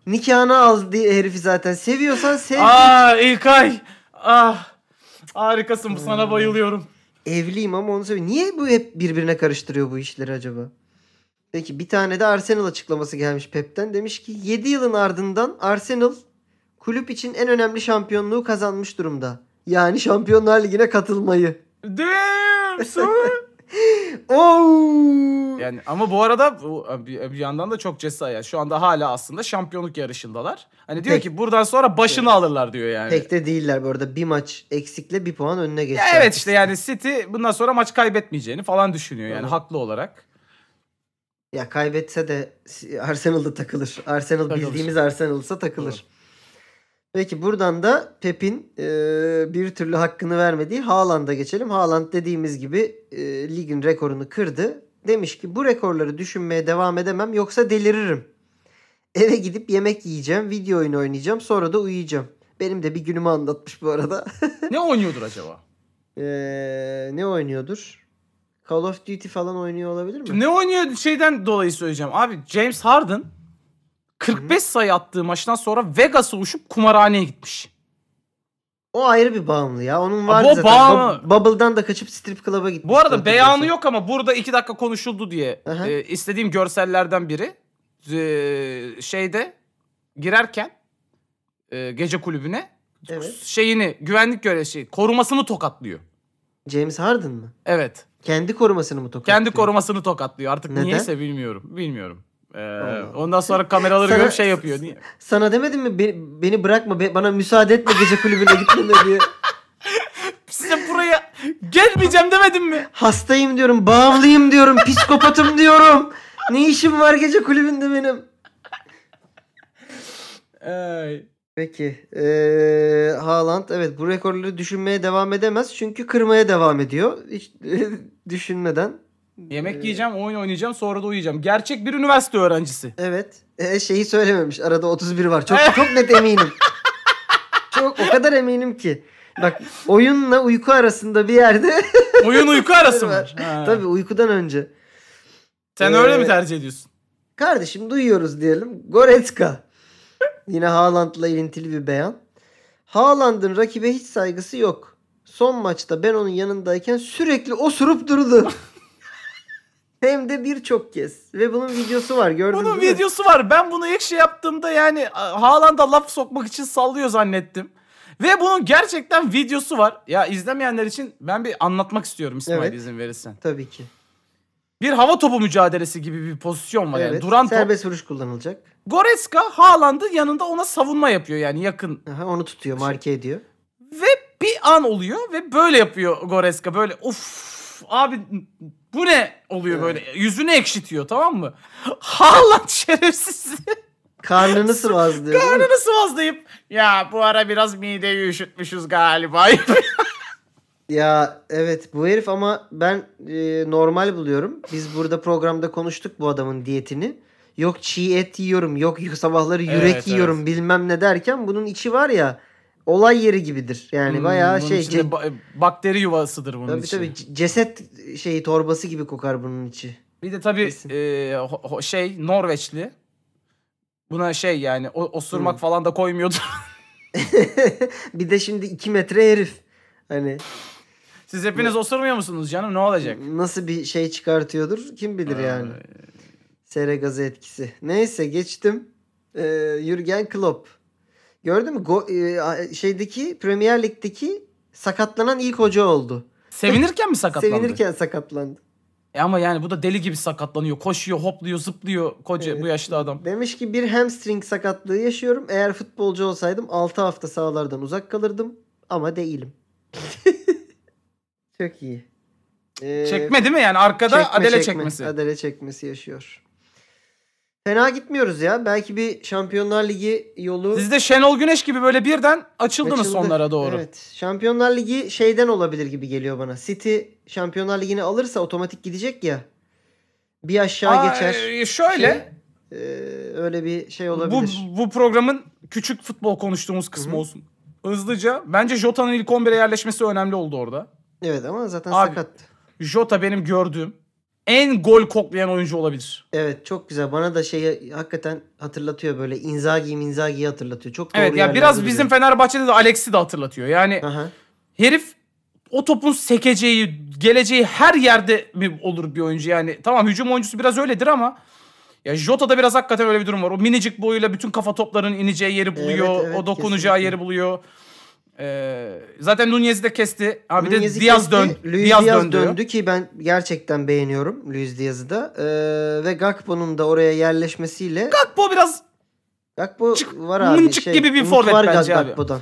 nikahına al diye herifi zaten. Seviyorsan sev.
Ah İlkay. Ah. Harikasın. Bu
Hmm.
sana bayılıyorum.
Evliyim ama onu seviyorum. Niye bu hep birbirine karıştırıyor bu işleri acaba? Peki bir tane de Arsenal açıklaması gelmiş Pep'ten. Demiş ki 7 yılın ardından Arsenal kulüp için en önemli şampiyonluğu kazanmış durumda. Yani Şampiyonlar Ligi'ne katılmayı.
Damn. son.
Oo!
yani ama bu arada bu- bir, bir yandan da çok cesaret. Yani Şu anda hala aslında şampiyonluk yarışındalar. Hani diyor
Pek-
ki buradan sonra başını alırlar diyor yani.
Pek de değiller bu arada. Bir maç eksikle bir puan önüne geçti.
Ya evet işte yani City bundan sonra maç kaybetmeyeceğini falan düşünüyor yani
Evet.
haklı olarak.
Ya kaybetse de Arsenal'da takılır. Arsenal
Takılır.
bildiğimiz Arsenal'sa takılır. Peki buradan da Pep'in e, bir türlü hakkını vermediği Haaland'a geçelim. Haaland dediğimiz gibi e, ligin rekorunu kırdı. Demiş ki bu rekorları düşünmeye devam edemem yoksa deliririm. Eve gidip yemek yiyeceğim, video oyunu oynayacağım, sonra da uyuyacağım. Benim de bir günümü anlatmış bu arada.
ne oynuyordur acaba?
Ee, ne oynuyordur? Call of Duty falan oynuyor olabilir mi?
Ne oynuyor şeyden dolayı söyleyeceğim. Abi James Harden 45 sayı attığı maçtan sonra Vegas'a uçup kumarhaneye gitmiş.
O ayrı bir bağımlı ya. Onun
Ha,
var
bu
zaten.
bağımlı-
Bub- Bubble'dan da kaçıp strip club'a gitmiş.
Bu arada
hatırlıyorsan.
beyanı yok ama burada 2 dakika konuşuldu diye
Aha.
e, istediğim görsellerden biri e, şeyde girerken e, gece kulübüne
Evet.
şeyini güvenlik görevlisi korumasını tokatlıyor.
James Harden mı?
Evet.
Kendi korumasını mı tokat?
Kendi korumasını tokatlıyor. Artık
Neden?
niyeyse bilmiyorum. Bilmiyorum. Ee,
Allah.
ondan sonra kameraları
Sana-
görüp şey yapıyor. Niye?
Sana demedim mi "Be- beni bırakma be- bana müsaade etme gece kulübüne gitmeme diye.
Size buraya gelmeyeceğim demedim mi?
Hastayım diyorum bağımlıyım diyorum psikopatım diyorum. Ne işim var gece kulübünde benim.
Ee,
Peki. Ee, Haaland evet bu rekorları düşünmeye devam edemez. Çünkü kırmaya devam ediyor. Hiç düşünmeden.
yemek yiyeceğim, oyun oynayacağım, sonra da uyuyacağım. Gerçek bir üniversite öğrencisi.
Evet. Ee, şeyi söylememiş. Arada 31 var. Çok çok net eminim. çok o kadar eminim ki. Bak oyunla uyku arasında bir yerde
Oyun uyku arası mı?
var.
Ha.
Tabii uykudan önce.
Sen
Ee,
öyle mi tercih ediyorsun?
Kardeşim duyuyoruz diyelim. Goretzka. Yine Haaland'la ilintili bir beyan. Haaland'ın rakibe hiç saygısı yok. Son maçta ben onun yanındayken sürekli osurup durdu. Hem de birçok kez. Ve bunun videosu var gördün
Bunun
değil mi?
videosu var. Ben bunu ilk şey yaptığımda yani a, Haaland'a laf sokmak için sallıyor zannettim. Ve bunun gerçekten videosu var. Ya izlemeyenler için ben bir anlatmak istiyorum İsmail
Evet.
izin verirsen.
Tabii ki.
Bir hava topu mücadelesi gibi bir pozisyon var yani.
Evet.
Duran top.
Serbest vuruş kullanılacak.
Goretzka Haaland'ı yanında ona savunma yapıyor yani yakın.
Aha, onu tutuyor, marke ediyor.
Ve bir an oluyor ve böyle yapıyor Goretzka. Böyle of abi bu ne oluyor böyle. Yüzünü ekşitiyor tamam mı? Haaland şerefsiz.
Karnını sıvazlıyor. değil mi?
Karnını sıvazlayıp ya bu ara biraz mideyi üşütmüşüz galiba.
Ya evet bu herif ama ben e, normal buluyorum. Biz burada programda konuştuk bu adamın diyetini. Yok çiğ et yiyorum, yok y- sabahları yürek
Evet,
yiyorum bilmem ne derken bunun içi var ya olay yeri gibidir. Yani bayağı
Hmm, Bunun
şey
içinde
ce-
ba- bakteri yuvasıdır bunun
tabii
içi.
tabii c- ceset şeyi torbası gibi kokar bunun içi.
Bir de tabii
Kesin.
e, ho- ho- şey Norveçli. Buna şey yani o, osurmak
Hmm.
falan da koymuyordu.
bir de şimdi 2 metre herif. Hani
Siz hepiniz osurmuyor musunuz canım? Ne olacak?
nasıl bir şey çıkartıyordur kim bilir yani.
Ee,
Sere gazı etkisi. Neyse geçtim. Ee, Jürgen Klopp. Gördün mü? Go- e, a- şeydeki Premier Lig'deki sakatlanan ilk hoca oldu.
Sevinirken mi sakatlandı?
Sevinirken sakatlandı.
E ama yani bu da deli gibi sakatlanıyor. Koşuyor, hopluyor, zıplıyor koca
Evet.
bu yaşlı adam.
Demiş ki bir hamstring sakatlığı yaşıyorum. Eğer futbolcu olsaydım 6 hafta sahalardan uzak kalırdım ama değilim. Çok iyi. Ee,
Çekme değil mi yani? Arkada
çekme,
Adele
çekme.
çekmesi.
Adele çekmesi yaşıyor. Fena gitmiyoruz ya. Belki bir Şampiyonlar Ligi yolu
Siz de Şenol Güneş gibi böyle birden açıldınız
Açıldı.
sonlara doğru.
Evet. Şampiyonlar Ligi şeyden olabilir gibi geliyor bana. City Şampiyonlar Ligi'ni alırsa otomatik gidecek ya. Bir aşağı
Aa,
geçer.
e, şöyle
Ee, öyle bir şey
bu
olabilir.
bu programın küçük futbol konuştuğumuz kısmı
Hı hı.
olsun. Hızlıca bence Jota'nın ilk 11'e yerleşmesi önemli oldu orada.
Evet ama zaten
Abi.
sakat.
Jota benim gördüğüm en gol koklayan oyuncu olabilir.
Evet çok güzel. Bana da şeyi hakikaten hatırlatıyor böyle Inzaghi Minzaghi'yi hatırlatıyor. Çok doğru
Evet ya
yerlerde
biraz
duruyor.
bizim Fenerbahçe'de de Alex'i de hatırlatıyor. Yani
Aha.
herif o topun sekeceği, geleceği her yerde mi olur bir oyuncu yani. Tamam hücum oyuncusu biraz öyledir ama ya Jota'da biraz hakikaten öyle bir durum var. O minicik boyuyla bütün kafa toplarının ineceği yeri buluyor.
Evet, evet,
o dokunacağı
kesinlikle.
yeri buluyor. Ee, zaten Nunez'i de kesti. Ha bir de
Nunez'i
Diaz
kesti,
dön.
Luis
Diaz,
Diaz
döndü.
döndü ki ben gerçekten beğeniyorum Luis Diaz'ı da. Ee, ve Gakpo'nun da oraya yerleşmesiyle
Gakpo biraz
Gakpo
Çık-
var abi.
mıncık
şey,
gibi bir
umut
forvet
var
bence abi.
Gakpo'dan.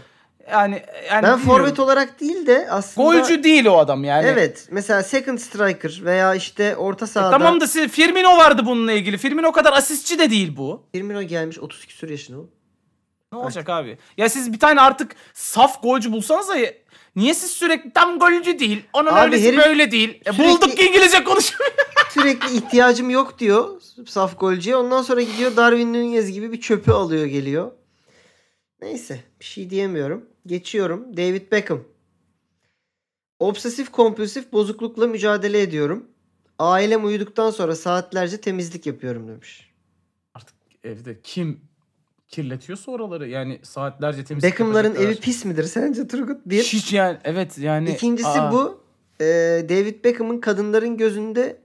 yani,
ben
yani bilmiyorum.
forvet olarak değil de aslında
golcü değil o adam yani.
Evet. Mesela second striker veya işte orta
E,
sahada
Tamam da siz- Firmino vardı bununla ilgili. Firmino kadar asistçi de değil bu.
Firmino gelmiş 30 küsur yaşında. oğlum.
Ne olacak abi? Ya siz bir tane artık saf golcü bulsanız da ya- niye siz sürekli tam golcü değil? Onun
Abi
öylesi
herif
böyle değil. E,
sürekli-
bulduk ki İngilizce konuşuyor.
Sürekli ihtiyacım yok diyor saf golcüye. Ondan sonra gidiyor Darwin Nunez gibi bir çöpü alıyor geliyor. Neyse bir şey diyemiyorum. Geçiyorum. David Beckham. Obsesif kompulsif bozuklukla mücadele ediyorum. Ailem uyuduktan sonra saatlerce temizlik yapıyorum demiş.
Artık evde kim kirletiyorsa oraları yani saatlerce temiz
Beckham'ların evi pis midir sence Turgut? Bir.
Hiç yani evet yani.
İkincisi
Aa,
bu. eee, David Beckham'ın kadınların gözünde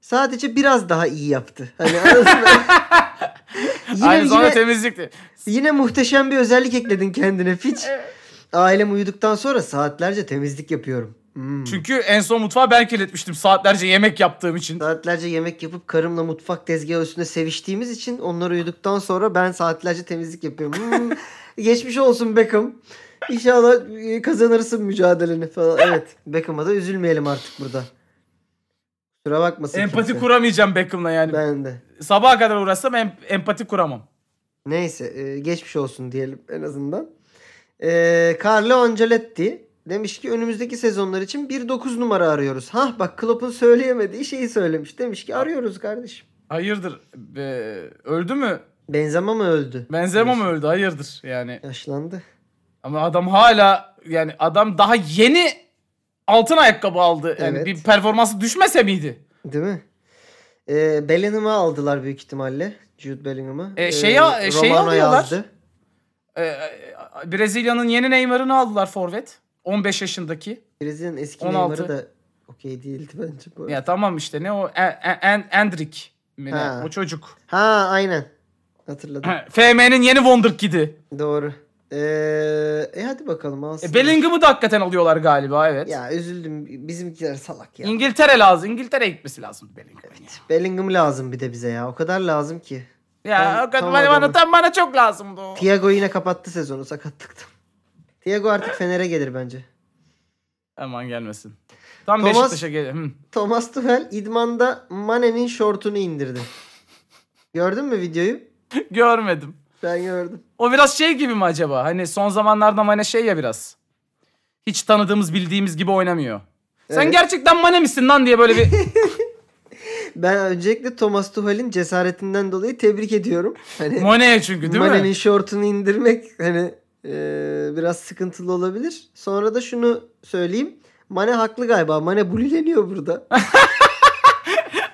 sadece biraz daha iyi yaptı. Hani anasını- yine,
Aynı zamanda
yine,
temizlikti.
yine muhteşem bir özellik ekledin kendine Fitch. Ailem uyuduktan sonra saatlerce temizlik yapıyorum. Hmm. Hmm.
Çünkü en son mutfağı ben kirletmiştim saatlerce yemek yaptığım için.
Saatlerce yemek yapıp karımla mutfak tezgahı üstünde seviştiğimiz için onlar uyuduktan sonra ben saatlerce temizlik yapıyorum. Hmm, Geçmiş olsun Beckham. İnşallah e, kazanırsın mücadeleni falan. Evet. Beckham'a da üzülmeyelim artık burada. Kusura bakmasın.
Empati
kimse.
kuramayacağım Beckham'la yani.
Ben de.
Sabaha kadar uğraşsam em- empati kuramam.
Neyse e, geçmiş olsun diyelim en azından. E, Carlo Ancelotti demiş ki önümüzdeki sezonlar için 1-9 numara arıyoruz. Hah bak Klopp'un söyleyemediği şeyi söylemiş. Demiş ki arıyoruz kardeşim.
Hayırdır? Ee, öldü mü?
Benzema mı öldü?
Benzema
şey.
mı öldü? Hayırdır yani.
Yaşlandı.
Ama adam hala yani adam daha yeni altın ayakkabı aldı. Yani
Evet.
bir performansı düşmese miydi?
Değil mi? E, Bellingham'ı aldılar büyük ihtimalle. Jude Bellingham'ı.
E, şeyi a- e, şeyi
Romano
alıyorlar.
yazdı.
Ee, e, Brezilya'nın yeni Neymar'ını aldılar forvet. 15 yaşındaki.
Brezilya'nın eski
16.
Neymar'ı da okey değildi bence bu. arada.
Ya tamam işte ne o en, en, Endrik mi ne?
Ha.
O çocuk.
Ha aynen. Hatırladım.
FM'nin yeni Wonderkid'i.
Doğru. E, e hadi bakalım alsınlar.
E, Bellingham'ı da hakikaten alıyorlar galiba evet.
Ya üzüldüm. Bizimkiler salak ya.
İngiltere lazım. İngiltere'ye gitmesi lazım Bellingham'ın. ya.
Bellingham lazım bir de bize ya. O kadar lazım ki.
Ya
Tam-
o kadar
tam
bana,
adamı.
tam bana çok lazımdı o.
Thiago yine kapattı sezonu sakatlıktan. Thiago artık Fener'e gelir bence.
Aman gelmesin. Tam
Thomas-
Beşiktaş'a gel. Hı.
Thomas Tuchel idmanda Mane'nin şortunu indirdi. Gördün mü videoyu?
Görmedim.
Ben gördüm.
O biraz şey gibi mi acaba? Hani son zamanlarda Mane şey ya biraz. Hiç tanıdığımız bildiğimiz gibi oynamıyor. Sen
Evet.
gerçekten Mane misin lan diye böyle bir...
Ben öncelikle Thomas Tuchel'in cesaretinden dolayı tebrik ediyorum. Hani
Mane'ye çünkü değil
Mane'nin
mi?
şortunu indirmek hani e, biraz sıkıntılı olabilir. Sonra da şunu söyleyeyim. Mane haklı galiba. Mane bulileniyor burada.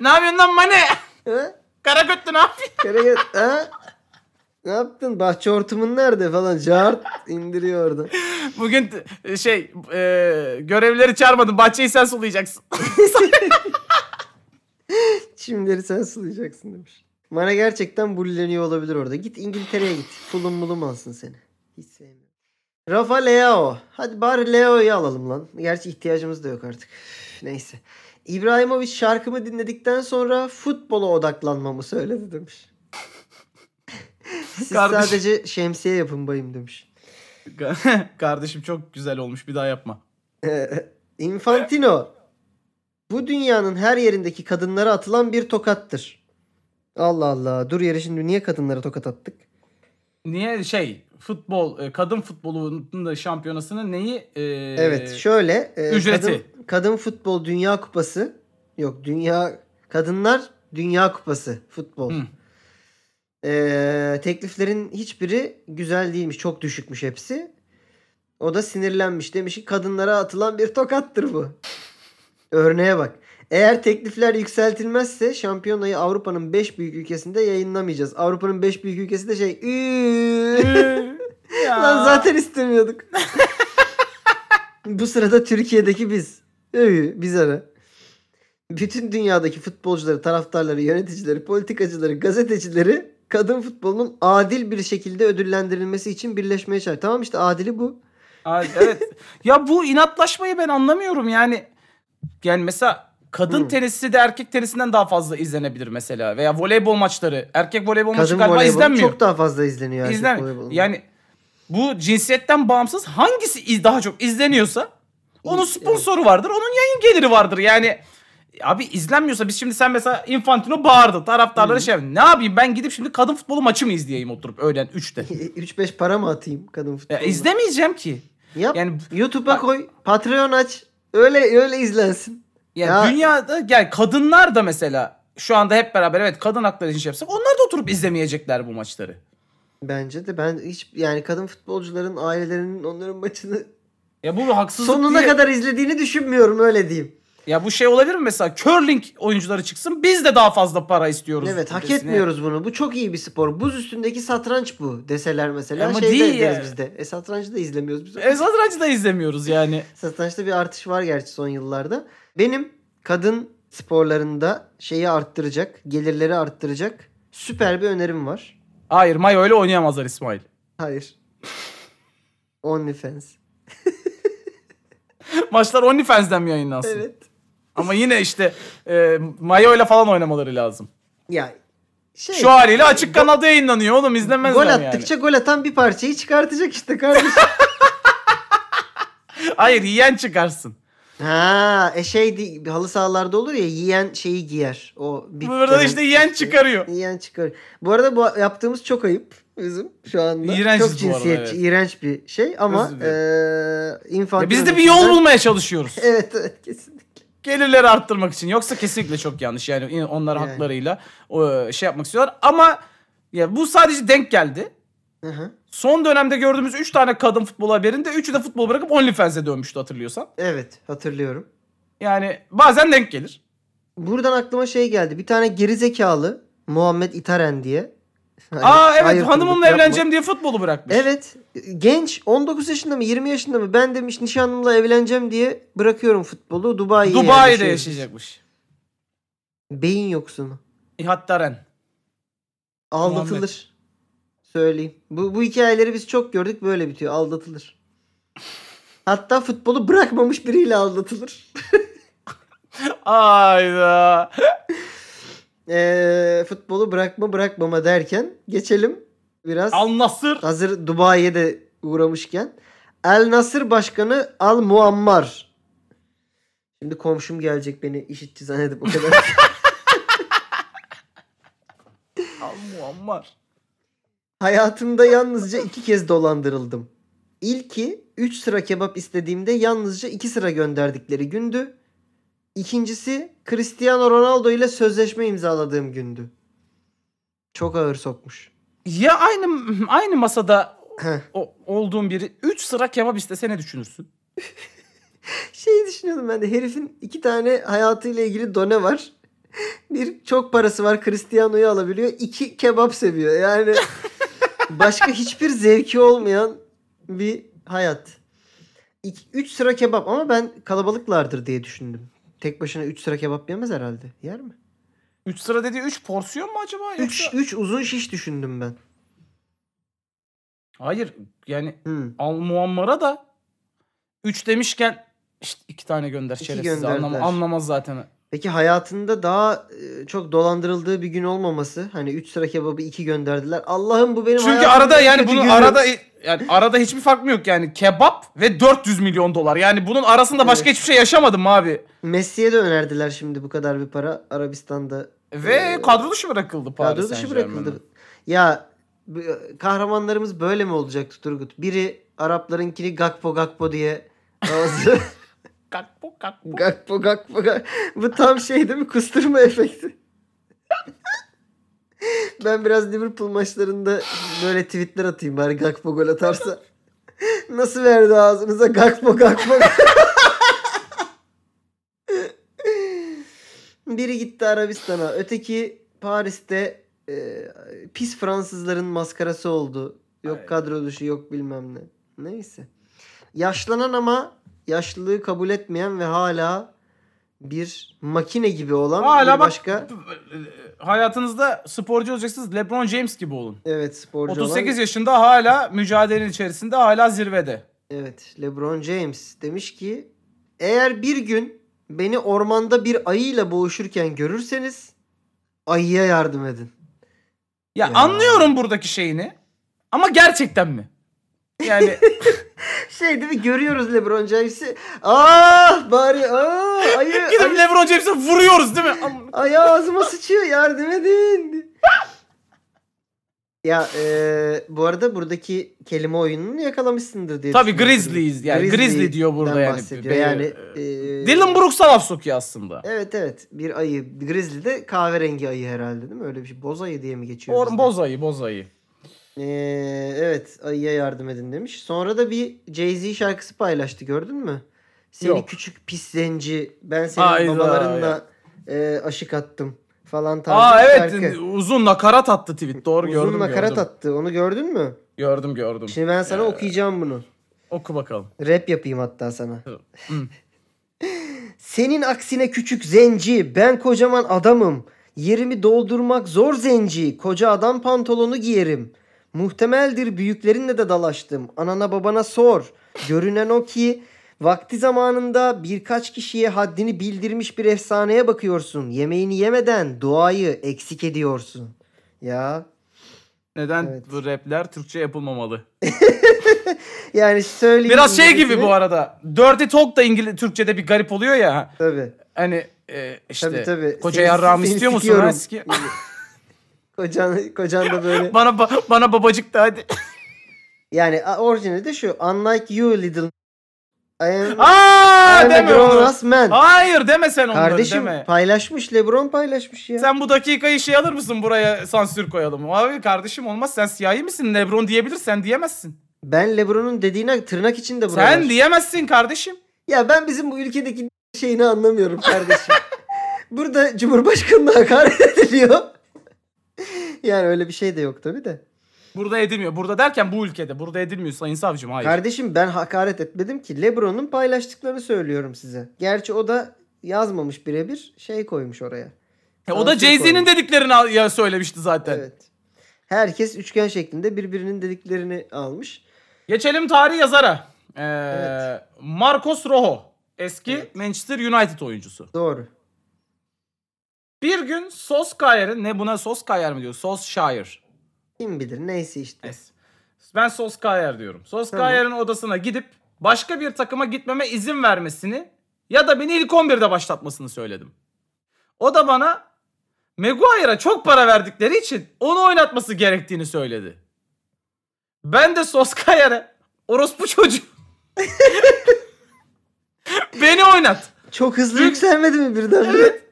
Ne yapıyorsun lan Mane?
Ha?
Karagötlü ne yapıyorsun?
Kara gel- ha? Ne yaptın? Bahçe hortumun nerede falan. Cart indiriyor orada.
Bugün t- şey e, görevleri çağırmadım. Bahçeyi sen sulayacaksın.
Çimleri sen sulayacaksın demiş. Bana gerçekten bulleniyor olabilir orada. Git İngiltere'ye git. Fulham mulum alsın seni. Hiç sevmiyorum. Rafa Leao. Hadi bari Leo'yu alalım lan. Gerçi ihtiyacımız da yok artık. Üf, Neyse. İbrahimovic şarkımı dinledikten sonra futbola odaklanmamı söyledi demiş. Siz
Kardeşim.
sadece şemsiye yapın bayım demiş.
Kardeşim çok güzel olmuş. Bir daha yapma.
Ee, Infantino. Bu dünyanın her yerindeki kadınlara atılan bir tokattır. Allah Allah. Dur yere şimdi niye kadınlara tokat attık?
Niye şey futbol e, kadın futbolunun da şampiyonasının neyi e,
evet şöyle. e,
ücreti.
Kadın, kadın futbol dünya kupası. Yok dünya kadınlar dünya kupası futbol.
Hı.
Ee, tekliflerin hiçbiri güzel değilmiş. Çok düşükmüş hepsi. O da sinirlenmiş. Demiş ki kadınlara atılan bir tokattır bu. Örneğe bak. Eğer teklifler yükseltilmezse şampiyonayı Avrupa'nın 5 büyük ülkesinde yayınlamayacağız. Avrupa'nın 5 büyük ülkesi de şey "Üü."
Ya.
Lan zaten istemiyorduk. Bu sırada Türkiye'deki biz. Övü, biz ara. Bütün dünyadaki futbolcuları, taraftarları, yöneticileri, politikacıları, gazetecileri kadın futbolunun adil bir şekilde ödüllendirilmesi için birleşmeye çağır. Tamam işte adili bu.
Ay, evet. ya bu inatlaşmayı ben anlamıyorum yani. Yani mesela kadın
Hı.
tenisi de erkek tenisinden daha fazla izlenebilir mesela. Veya voleybol maçları. Erkek voleybol maçı
Kadın
galiba
voleybolu
izlenmiyor.
çok daha fazla izleniyor. erkek
İzlen-
voleybolundan.
Yani bu cinsiyetten bağımsız hangisi iz- daha çok izleniyorsa onun
Evet.
sponsoru vardır, onun yayın geliri vardır. Yani abi izlenmiyorsa biz şimdi sen mesela Infantino bağırdı
Hmm.
taraftarlara şey yapın. Ne yapayım ben gidip şimdi kadın futbolu maçı mı izleyeyim oturup öğlen 3'te?
3-5 E, para mı atayım kadın
Ya
futboluna?
izlemeyeceğim ki.
Yap.
Yani-
YouTube'a koy. Patreon aç. Öyle öyle izlensin.
Yani
Ya-
dünyada yani kadınlar da mesela şu anda hep beraber evet kadın hakları için şey yapsak onlar da oturup izlemeyecekler bu maçları.
Bence de ben hiç yani kadın futbolcuların ailelerinin onların maçını
Ya bu haksızlık
sonuna
diye-
kadar izlediğini düşünmüyorum öyle diyeyim.
Ya bu şey olabilir mi mesela curling oyuncuları çıksın biz de daha fazla para istiyoruz.
evet hak
desine.
etmiyoruz bunu. Bu çok iyi bir spor. Buz üstündeki satranç bu deseler mesela.
Ama
Ama Şeyde
değil
değil
ya.
deriz biz de. E satrancı da izlemiyoruz biz.
E, satrancı da izlemiyoruz yani.
Satrançta bir artış var gerçi son yıllarda. Benim kadın sporlarında şeyi arttıracak, gelirleri arttıracak süper bir önerim var.
Hayır Mayo öyle oynayamazlar İsmail.
Hayır. OnlyFans.
maçlar OnlyFans'den mi yayınlansın?
Evet.
Ama yine işte e, Mayo ile falan oynamaları lazım.
Ya şey,
Şu haliyle açık kanalda yayınlanıyor oğlum izlemezler
gol
yani.
attıkça gol atan bir parçayı çıkartacak işte kardeşim.
Hayır yiyen çıkarsın.
ha, e şey değil, halı sahalarda olur ya yiyen şeyi giyer. O bir
Burada işte yiyen çıkarıyor.
Yiyen çıkar. Bu arada bu yaptığımız çok ayıp bizim şu anda.
İğrenciz
çok
bu arada,
cinsiyetçi,
evet.
iğrenç bir şey ama
Özür
eee
Ya
infantil.
biz de bir yol bulmaya çalışıyoruz.
Evet, evet kesinlikle.
Gelirleri arttırmak için. Yoksa kesinlikle çok yanlış. Yani in- onlar
Yani.
haklarıyla o, şey yapmak istiyorlar. Ama ya bu sadece denk geldi.
Hı hı.
Son dönemde gördüğümüz 3 tane kadın futbol haberinde 3'ü de futbol bırakıp OnlyFans'e dönmüştü hatırlıyorsan.
Evet hatırlıyorum.
Yani bazen denk gelir.
Buradan aklıma şey geldi. Bir tane gerizekalı Muhammed İtaren diye. Hani
Aa evet
hayırdır,
hanımımla
yapma.
evleneceğim diye futbolu bırakmış.
Evet. Genç 19 yaşında mı 20 yaşında mı ben demiş nişanlımla evleneceğim diye bırakıyorum futbolu Dubai'ye
Dubai'de
yerleşiyorum.
yaşayacakmış.
Beyin yoksunu.
Hatta Ren.
Aldatılır. Söyleyeyim. Bu, bu hikayeleri biz çok gördük böyle bitiyor. Aldatılır. Hatta futbolu bırakmamış biriyle aldatılır.
Ayda.
Ee, futbolu bırakma bırakmama derken geçelim biraz.
Al Nasır.
Hazır Dubai'ye de uğramışken. El Nasır Başkanı Al Muammar. Şimdi komşum gelecek beni işitçi zannedip o kadar.
Al Muammar.
Hayatımda yalnızca iki kez dolandırıldım. İlki 3 sıra kebap istediğimde yalnızca 2 sıra gönderdikleri gündü. İkincisi Cristiano Ronaldo ile sözleşme imzaladığım gündü. Çok ağır sokmuş.
Ya aynı aynı masada
Heh.
o, olduğun biri 3 sıra kebap istese ne düşünürsün?
Şeyi düşünüyordum ben de herifin iki tane hayatıyla ilgili done var. Bir çok parası var Cristiano'yu alabiliyor. İki kebap seviyor. Yani başka hiçbir zevki olmayan bir hayat. İki, üç sıra kebap ama ben kalabalıklardır diye düşündüm. Tek başına üç sıra kebap yemez herhalde. Yer mi?
3 sıra dediği 3 porsiyon mu acaba?
Üç,
Yoksa...
üç uzun şiş düşündüm ben.
Hayır yani
Hmm.
Al Muammar'a da 3 demişken işte 2 tane gönder
İki
şerefsiz
gönderdiler.
anlam, anlamaz zaten.
Peki hayatında daha e, çok dolandırıldığı bir gün olmaması. Hani üç sıra kebabı iki gönderdiler. Allah'ım bu benim
Çünkü
hayatımın
arada
en
yani
kötü
bunun
günü.
arada yani arada hiçbir fark mı yok yani kebap ve 400 milyon dolar. Yani bunun arasında başka hiçbir şey yaşamadım abi.
Messi'ye de önerdiler şimdi bu kadar bir para. Arabistan'da
Ve Ee, kadro dışı bırakıldı Paris
kadro dışı
Saint-Germain'e.
bırakıldı. Ya bu- kahramanlarımız böyle mi olacaktı Turgut? Biri Araplarınkini Gakpo Gakpo diye ağzı
Kakpo kakpo.
Gakpo Gakpo Gak- Bu tam şey değil mi? Kusturma efekti. ben biraz Liverpool maçlarında böyle tweetler atayım bari Gakpo gol atarsa. Nasıl verdi ağzınıza Gakpo Gakpo. Biri gitti Arabistan'a. Öteki Paris'te e, pis Fransızların maskarası oldu. Yok
Ay.
kadro dışı yok bilmem ne. Neyse. Yaşlanan ama yaşlılığı kabul etmeyen ve hala bir makine gibi olan
Hala
bir
bak e,
başka
hayatınızda sporcu olacaksınız. LeBron James gibi olun.
evet sporcu
38
olan.
yaşında hala mücadelenin içerisinde hala zirvede.
Evet LeBron James demiş ki eğer bir gün beni ormanda bir ayıyla boğuşurken görürseniz ayıya yardım edin.
Ya,
Ya.
anlıyorum buradaki şeyini. Ama gerçekten mi? Yani
Şey değil mi görüyoruz LeBron James'i. Ah bari ah ayı,
gidip
ayı,
LeBron James'e vuruyoruz değil mi? Am-
ayı ağzıma sıçıyor yardım edin. ya e, bu arada buradaki kelime oyununu yakalamışsındır diye
Tabii
düşünüyorum.
Grizzlies yani. Grizzly diyor burada
Grizzly'den
yani.
bahsediyor.
Be-
Yani, e,
Dylan Brooks'a laf sokuyor aslında.
Evet evet bir ayı. Grizzly de kahverengi ayı herhalde değil mi? Öyle bir şey. Boz ayı diye mi geçiyor?
Or
bizde?
boz ayı, boz ayı.
Ee, evet ayıya yardım edin demiş. Sonra da bir Jay-Z şarkısı paylaştı gördün mü? Seni
Yok.
küçük pis zenci ben senin
Hayda
babalarınla e, aşık attım falan tarzı
Aa
bir
evet
şarkı.
uzun nakarat attı tweet. Doğru gördüm
Uzun nakarat
gördüm.
attı Şey- onu gördün mü?
Gördüm gördüm.
Şimdi ben sana
Ya.
okuyacağım bunu.
Oku bakalım.
Rap yapayım hatta sana.
Hı.
Senin aksine küçük zenci, ben kocaman adamım. Yerimi doldurmak zor zenci, koca adam pantolonu giyerim. Muhtemeldir büyüklerinle de dalaştım. Anana babana sor. Görünen o ki Vakti zamanında birkaç kişiye haddini bildirmiş bir efsaneye bakıyorsun. Yemeğini yemeden duayı eksik ediyorsun. Ya
Neden
Evet.
bu rapler Türkçe yapılmamalı?
yani söyleyeyim.
Biraz şey gibi
İngilizcesini-
bu arada. Dirty Talk da İngiliz Türkçe'de bir garip oluyor ya.
Tabii.
Hani e, işte
Tabii tabii.
koca
Seni-
yarrağımı
seni
istiyor musun?
sikiyorum.
Ha, siki-
Kocan, kocan da böyle.
bana ba- bana babacık da hadi.
Yani a- orijinali de şu. Unlike you little. I am, I
Aa
am a
deme
grown
onu.
ass man.
Hayır deme sen onları
Kardeşim
deme.
paylaşmış. Lebron paylaşmış ya.
Sen bu dakikayı şey alır mısın buraya sansür koyalım. Abi kardeşim olmaz sen siyahi misin? Lebron diyebilir sen diyemezsin.
Ben Lebron'un dediğine tırnak içinde buralar.
Sen diyemezsin kardeşim.
Ya ben bizim bu ülkedeki şeyini anlamıyorum kardeşim. Burada Cumhurbaşkanı'na hakaret ediliyor. yani öyle bir şey de yok tabii de.
Burada edilmiyor. Burada derken bu ülkede. Burada edilmiyor sayın savcım hayır.
Kardeşim ben hakaret etmedim ki. Lebron'un paylaştıklarını söylüyorum size. Gerçi o da yazmamış birebir şey koymuş oraya.
E, o da
Sansür
Jay-Z'nin
koymuş.
dediklerini al- ya söylemişti zaten.
Evet. Herkes üçgen şeklinde birbirinin dediklerini almış.
Geçelim tarih yazara. Ee,
Evet.
Marcos Rojo. Eski
Evet.
Manchester United oyuncusu.
Doğru.
Bir gün Soskayer'in ne buna Soskayer mi diyor? Soskayer.
Kim bilir neyse işte.
Neyse. Ben Soskayer diyorum. Soskayer'in odasına gidip başka bir takıma gitmeme izin vermesini ya da beni ilk 11'de başlatmasını söyledim. O da bana Maguire'a çok para verdikleri için onu oynatması gerektiğini söyledi. Ben de Soskayer'e orospu çocuğu beni oynat.
Çok hızlı
Büyük-
yükselmedi mi birden?
Evet.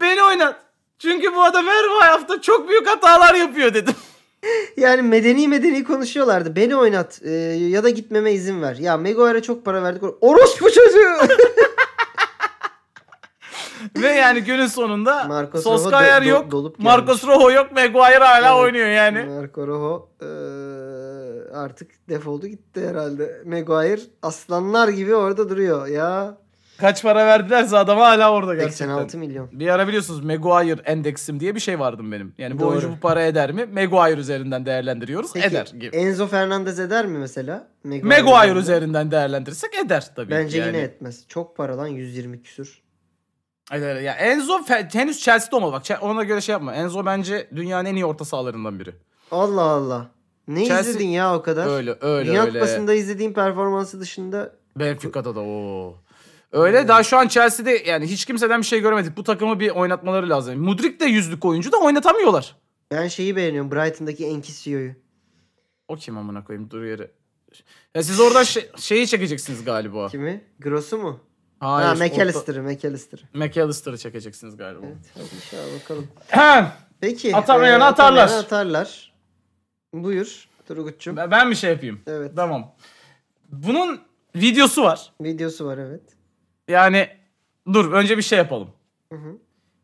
Beni oynat. Çünkü bu adam her hafta çok büyük hatalar yapıyor dedim.
Yani medeni medeni konuşuyorlardı. Beni oynat e, ya da gitmeme izin ver. Ya Maguire'a çok para verdik. Orospu çocuğu.
Ve yani günün sonunda
Marcos
Soskayer
Rojo do-
yok,
do- dolup
Marcos Rojo yok, Maguire hala
Evet.
oynuyor yani.
Marco Rojo e, artık defoldu gitti herhalde. Maguire aslanlar gibi orada duruyor ya.
Kaç para verdilerse adama hala orada gerçekten.
86 milyon.
Bir ara biliyorsunuz Maguire endeksim diye bir şey vardı benim. Yani bu
Doğru.
oyuncu bu para eder mi? Maguire üzerinden değerlendiriyoruz. eder gibi.
Enzo Fernandez eder mi mesela?
Maguire
üzerinde.
üzerinden değerlendirirsek eder tabii.
Bence
ki yani.
yine etmez. Çok para lan 120 küsür.
Eder. Ya Enzo fe- henüz Chelsea'de olmadı. Bak Chel- ona göre şey yapma. Enzo bence dünyanın en iyi orta sahalarından biri.
Allah Allah. Ne
Chelsea-
izledin ya o kadar?
Öyle öyle
Dünya
öyle.
Kupası'nda izlediğin performansı dışında
Benfica'da da o.
Ee,
Öyle daha şu an Chelsea'de yani hiç kimseden bir şey göremedik. Bu takımı bir oynatmaları lazım. Mudrik de yüzlük oyuncu da oynatamıyorlar.
ben şeyi beğeniyorum. Brighton'daki Enkisio'yu.
O kim amına koyayım dur yere. Ya siz oradan şey- şeyi çekeceksiniz galiba.
Kimi? Gross'u mu?
Hayır.
ha
orta-
McAllister'ı McAllister'ı.
McAllister'ı çekeceksiniz galiba.
Evet hadi inşallah bakalım.
Hem,
Peki.
Atamayanı
e,
atarlar.
atamayanı atarlar. Buyur Turgut'cum.
ben ben bir şey yapayım.
Evet.
Tamam. Bunun videosu var.
Videosu var evet.
Yani dur önce bir şey yapalım.
Hı hı.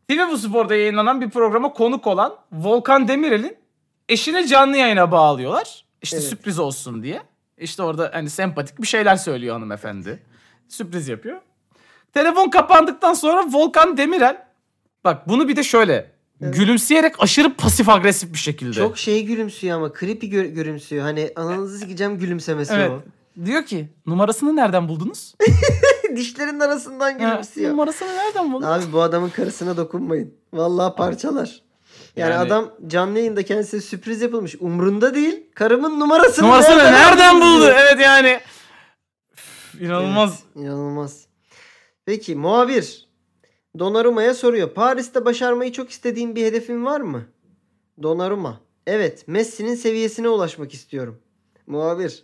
TV Bu Spor'da yayınlanan bir programa konuk olan Volkan Demirel'in eşini canlı yayına bağlıyorlar. İşte
Evet.
sürpriz olsun diye. İşte orada hani sempatik bir şeyler söylüyor hanımefendi. Sürpriz yapıyor. Telefon kapandıktan sonra Volkan Demirel bak bunu bir de şöyle
Evet.
gülümseyerek aşırı pasif agresif bir şekilde.
Çok şey gülümsüyor ama creepy gö- gülümsüyor. Hani ananızı sikeceğim gülümsemesi
Evet.
o.
Diyor ki numarasını nereden buldunuz?
Dişlerin arasından
Ha,
gülümsüyor.
numarasını nereden buldunuz?
Abi bu adamın karısına dokunmayın. Vallahi parçalar. Yani,
Yani-
adam canlı yayında kendisine sürpriz yapılmış. Umrunda değil. Karımın numarasını,
numarasını nereden,
aldın
buldu?
diyor.
Evet yani. Üf, inanılmaz.
Evet, inanılmaz. Peki muhabir Donnarumma'ya soruyor. Paris'te başarmayı çok istediğin bir hedefin var mı? Donnarumma. Evet, Messi'nin seviyesine ulaşmak istiyorum. Muhabir.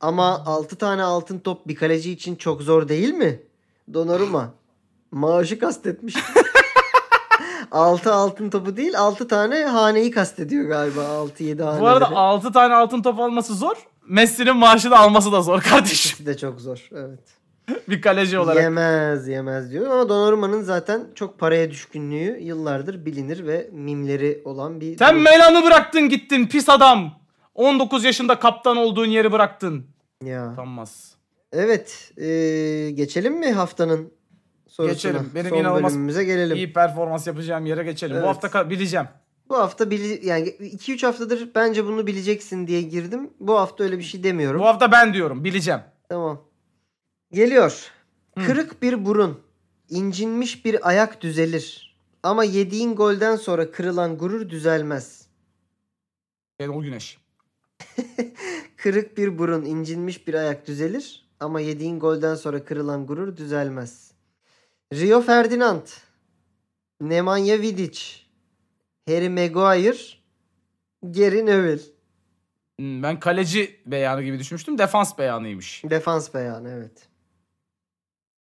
Ama 6 tane altın top bir kaleci için çok zor değil mi? Donnarumma. Maaşı kastetmiş. 6 altın topu değil, 6 tane haneyi kastediyor galiba. 6 7 haneleri.
Bu arada 6 tane altın top alması zor. Messi'nin maaşını alması da zor kardeşim.
İkisi de çok zor. Evet.
Bir kaleci olarak.
Yemez yemez diyor ama Donnarumma'nın zaten çok paraya düşkünlüğü yıllardır bilinir ve mimleri olan bir...
Sen
durum.
Melan'ı bıraktın gittin pis adam. 19 yaşında kaptan olduğun yeri bıraktın.
Ya.
Utanmaz.
Evet ee, geçelim mi haftanın sorusuna?
Geçelim. Benim
Son
inanılmaz-
bölümümüze gelelim.
İyi performans yapacağım yere geçelim.
Evet.
Bu hafta ka- bileceğim.
Bu hafta bili- yani 2-3 haftadır bence bunu bileceksin diye girdim. Bu hafta öyle bir şey demiyorum.
Bu hafta ben diyorum bileceğim.
Tamam. Geliyor.
Hı.
Kırık bir burun, incinmiş bir ayak düzelir. Ama yediğin golden sonra kırılan gurur düzelmez.
Şenol Güneş.
Kırık bir burun, incinmiş bir ayak düzelir. Ama yediğin golden sonra kırılan gurur düzelmez. Rio Ferdinand, Nemanja Vidic, Harry Maguire, Gary Neville.
Hmm, Ben kaleci beyanı gibi düşünmüştüm. Defans beyanıymış.
Defans beyanı evet.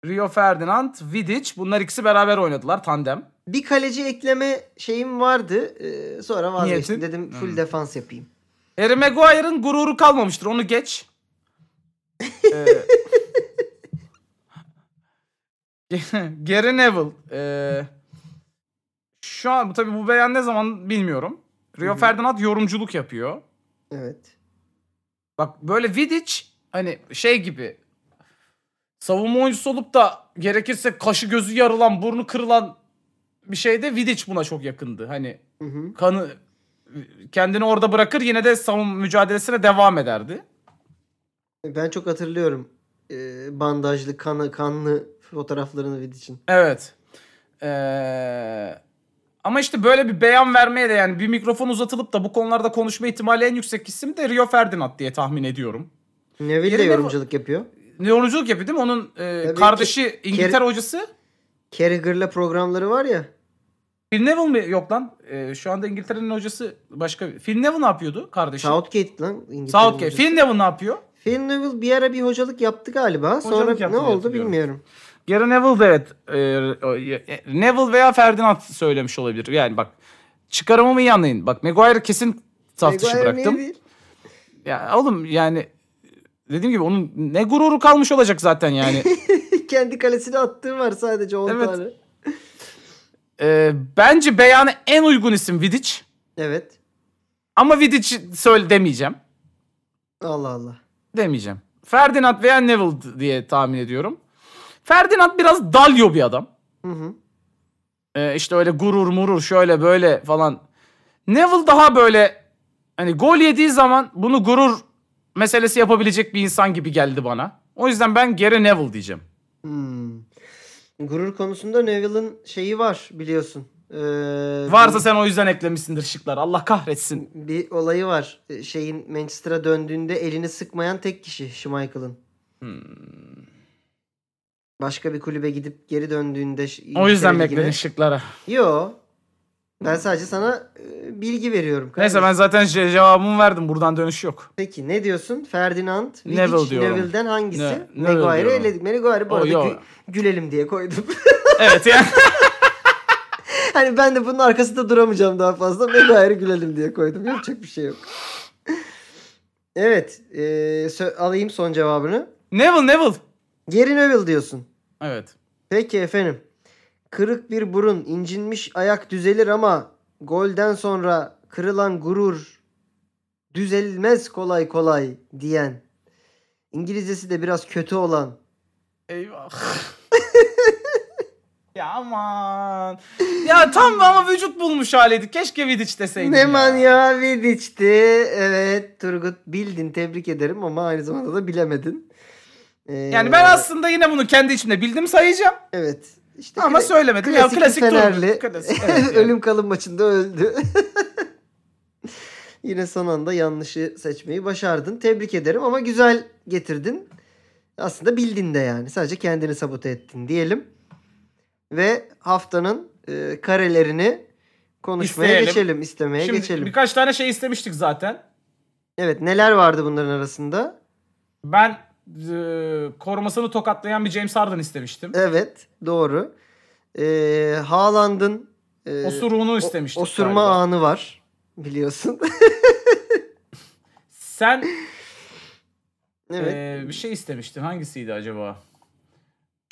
Rio Ferdinand, Vidic bunlar ikisi beraber oynadılar tandem.
Bir kaleci ekleme şeyim vardı. Ee, sonra vazgeçtim.
Niyetin?
Dedim full
Hmm.
defans yapayım.
Harry Maguire'ın gururu kalmamıştır. Onu geç. Ee, Gary Neville. ee, şu an bu tabii bu beyan ne zaman bilmiyorum. Rio Ferdinand yorumculuk yapıyor.
Evet.
Bak böyle Vidic hani şey gibi savunma oyuncusu olup da gerekirse kaşı gözü yarılan, burnu kırılan bir şeyde Vidic buna çok yakındı. Hani
Hı hı.
kanı kendini orada bırakır yine de savunma mücadelesine devam ederdi.
Ben çok hatırlıyorum. Ee, bandajlı, kanı, kanlı fotoğraflarını vid için.
Evet. Ee, ama işte böyle bir beyan vermeye de yani bir mikrofon uzatılıp da bu konularda konuşma ihtimali en yüksek isim de Rio Ferdinand diye tahmin ediyorum.
Neville de
Yerine bu-
yorumculuk yapıyor.
Yorumculuk yapıyor değil mi? Onun e,
Tabii
kardeşi İngiltere hocası.
Carragher'la programları var ya.
Phil Neville mi? Yok lan. Ee, şu anda İngiltere'nin hocası başka bir. Phil Neville ne yapıyordu kardeşi?
Southgate lan. İngiltere'nin
Şey- Southgate.
hocası.
Phil Neville ne yapıyor?
Phil Neville bir ara bir hocalık yaptı galiba.
Hocalık
Sonra
yaptı
ne
diye
oldu
hatırlıyorum.
bilmiyorum.
Gary Neville de evet. e, e, Neville veya Ferdinand söylemiş olabilir. Yani bak çıkarımımı iyi anlayın. Bak Maguire kesin saf dışı
Maguire
bıraktım.
Neville.
Ya oğlum yani dediğim gibi onun ne gururu kalmış olacak zaten yani.
Kendi kalesine attığı var sadece 10
Evet.
tane.
Ee, bence beyanı en uygun isim Vidic.
Evet.
Ama Vidic söyle demeyeceğim.
Allah Allah.
Demeyeceğim. Ferdinand veya Neville d- diye tahmin ediyorum. Ferdinand biraz dalyo bir adam.
Hı hı.
Ee, işte öyle gurur murur şöyle böyle falan. Neville daha böyle hani gol yediği zaman bunu gurur meselesi yapabilecek bir insan gibi geldi bana. O yüzden ben Gary Neville diyeceğim.
Hmm. Gurur konusunda Neville'ın şeyi var biliyorsun. Ee,
Varsa sen o yüzden eklemişsindir şıklar. Allah kahretsin.
bir olayı var. Ee, Şeyin Manchester'a döndüğünde elini sıkmayan tek kişi Schmeichel'ın.
Hmm.
Başka bir kulübe gidip geri döndüğünde ş-
O yüzden mi
İngiltere
ekledin
Ligi'ne-
şıklara?
Yo. Ben sadece sana e, bilgi veriyorum.
Neyse ben
kardeşim.
zaten ce- cevabımı verdim. Buradan dönüş yok.
Peki ne diyorsun? Ferdinand, Vidic,
Neville diyorum.
Neville'den hangisi?
Ne- Neville
Maguire'ı
diyorum.
eledik. Maguire bu
O,
arada
yo.
gü- gülelim diye koydum.
Evet yani.
hani ben de bunun arkasında duramayacağım daha fazla. Maguire'ı gülelim diye koydum. Yapacak bir şey yok. evet. e, sö- alayım son cevabını.
Neville Neville.
Geri Neville diyorsun.
Evet.
Peki efendim. Kırık bir burun, incinmiş ayak düzelir ama golden sonra kırılan gurur düzelmez kolay kolay diyen. İngilizcesi de biraz kötü olan.
Eyvah. ya aman. Ya tam ama vücut bulmuş haliydi. Keşke Vidic deseydin
Ne
ya.
manyağı Vidic'ti. Evet Turgut bildin tebrik ederim ama aynı zamanda da bilemedin. Ee,
Yani ben aslında yine bunu kendi içimde bildim sayacağım.
Evet. İşte
Ama
kla-
söylemedim. Ya,
Klasik,
klasik
bir Fenerli.
Turgut. Klasik, evet yani.
Ölüm kalım maçında öldü. Yine son anda yanlışı seçmeyi başardın. Tebrik ederim ama güzel getirdin. Aslında bildin de yani. Sadece kendini sabote ettin diyelim. Ve haftanın e, karelerini konuşmaya
İsteyelim.
geçelim, istemeye
Şimdi
geçelim.
birkaç tane şey istemiştik zaten.
Evet, neler vardı bunların arasında?
Ben e, korumasını tokatlayan bir James Harden istemiştim.
Evet, doğru. E, Haaland'ın e,
Osuruğunu
o-
istemiştik.
osurma
galiba.
anı var biliyorsun.
Sen
evet.
e, bir şey istemiştin. Hangisiydi acaba?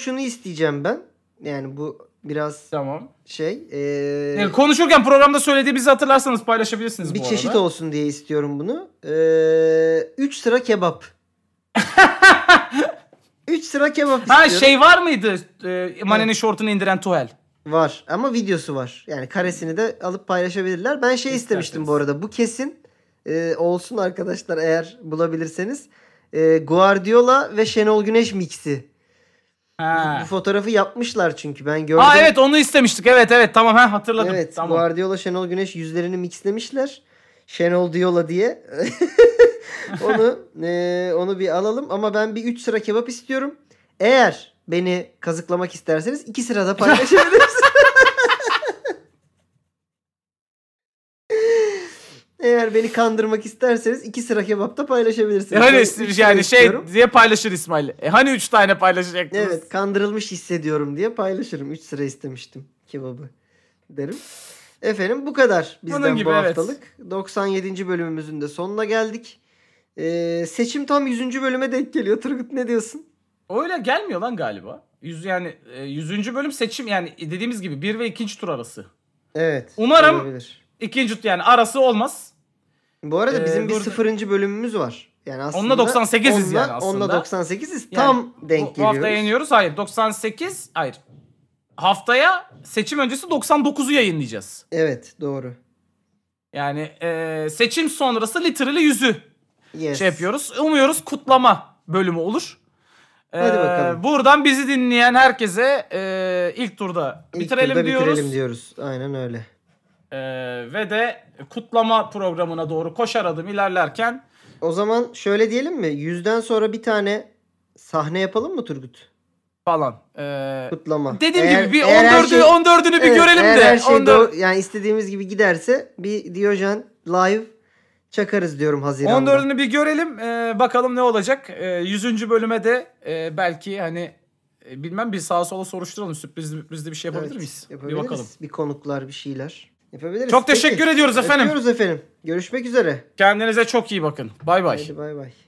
şunu isteyeceğim ben. Yani bu biraz
Tamam.
şey. ee,
Yani konuşurken programda söylediğimizi hatırlarsanız paylaşabilirsiniz
bir
bu
çeşit
arada.
olsun diye istiyorum bunu. Ee, üç sıra kebap. üç sıra kebap istiyorum.
Ha şey var mıydı? E, Mane'nin şortunu indiren Tuhel.
Var ama videosu var. Yani karesini de alıp paylaşabilirler. Ben şey istemiştim
İsterseniz.
bu arada. Bu kesin ee, olsun E, arkadaşlar eğer bulabilirseniz. Ee, Guardiola ve Şenol Güneş miksi.
Ha.
Bu fotoğrafı yapmışlar çünkü ben gördüm.
Aa evet onu istemiştik. Evet evet tamam ha hatırladım.
Evet,
tamam.
Guardiola Şenol Güneş yüzlerini mixlemişler. Şenol Diola diye. onu eee, onu bir alalım ama ben bir 3 sıra kebap istiyorum. Eğer beni kazıklamak isterseniz 2 sırada paylaşabiliriz. Eğer beni kandırmak isterseniz 2 sıra kebapta paylaşabilirsiniz.
E, hani
Ben
is-
üç sıra
yani şey
istiyorum.
diye paylaşır İsmail. E, hani üç tane paylaşacaktınız?
Evet kandırılmış hissediyorum diye paylaşırım. 3 sıra istemiştim kebabı derim. Efendim bu kadar bizden
Bunun gibi,
bu
evet.
haftalık. 97. bölümümüzün de sonuna geldik. Ee, seçim tam 100. bölüme denk geliyor. Turgut ne diyorsun?
Öyle gelmiyor lan galiba. Yüz yani e, 100. bölüm seçim yani dediğimiz gibi bir ve ikinci tur arası.
Evet.
Umarım-
olabilir.
İkinci tur yani arası olmaz.
Bu arada
Ee,
bizim bir
dur-
0. bölümümüz var. Yani aslında
Onunla 98'iz
onunla-
yani aslında.
Onunla 98'iz.
Yani
tam denk
bu, bu hafta
geliyoruz.
yayınlıyoruz. Hayır 98 hayır. Haftaya seçim öncesi 99'u yayınlayacağız.
Evet doğru.
Yani e, seçim sonrası literally 100'ü
Yes.
şey yapıyoruz. Umuyoruz kutlama bölümü olur.
Hadi bakalım.
Buradan bizi dinleyen herkese e, ilk turda
İlk
bitirelim
turda
diyoruz.
bitirelim diyoruz. Aynen öyle.
E, ve de kutlama programına doğru koşar adım ilerlerken
O zaman şöyle diyelim mi? Yüzden sonra bir tane sahne yapalım mı Turgut?
falan. E,
Kutlama.
dediğim
Eğer-
gibi bir
eğer her şey-
14'ü 14'ünü bir
Evet,
görelim
eğer
de.
Her şey
14
doğru- yani istediğimiz gibi giderse bir Diyojen live çakarız diyorum Haziran'da.
14'ünü bir görelim. e, bakalım ne olacak. E, 100. bölüme de e, belki hani e, bilmem bir sağa sola soruşturalım. Sürpriz sürprizli bir şey yapabilir
Evet,
miyiz? Bir
yapabiliriz.
bakalım.
Bir konuklar bir şeyler. Yapabiliriz.
Çok teşekkür ediyoruz efendim.
Öpüyoruz efendim. Görüşmek üzere.
Kendinize çok iyi bakın. Bay bay.
Hadi bay bay.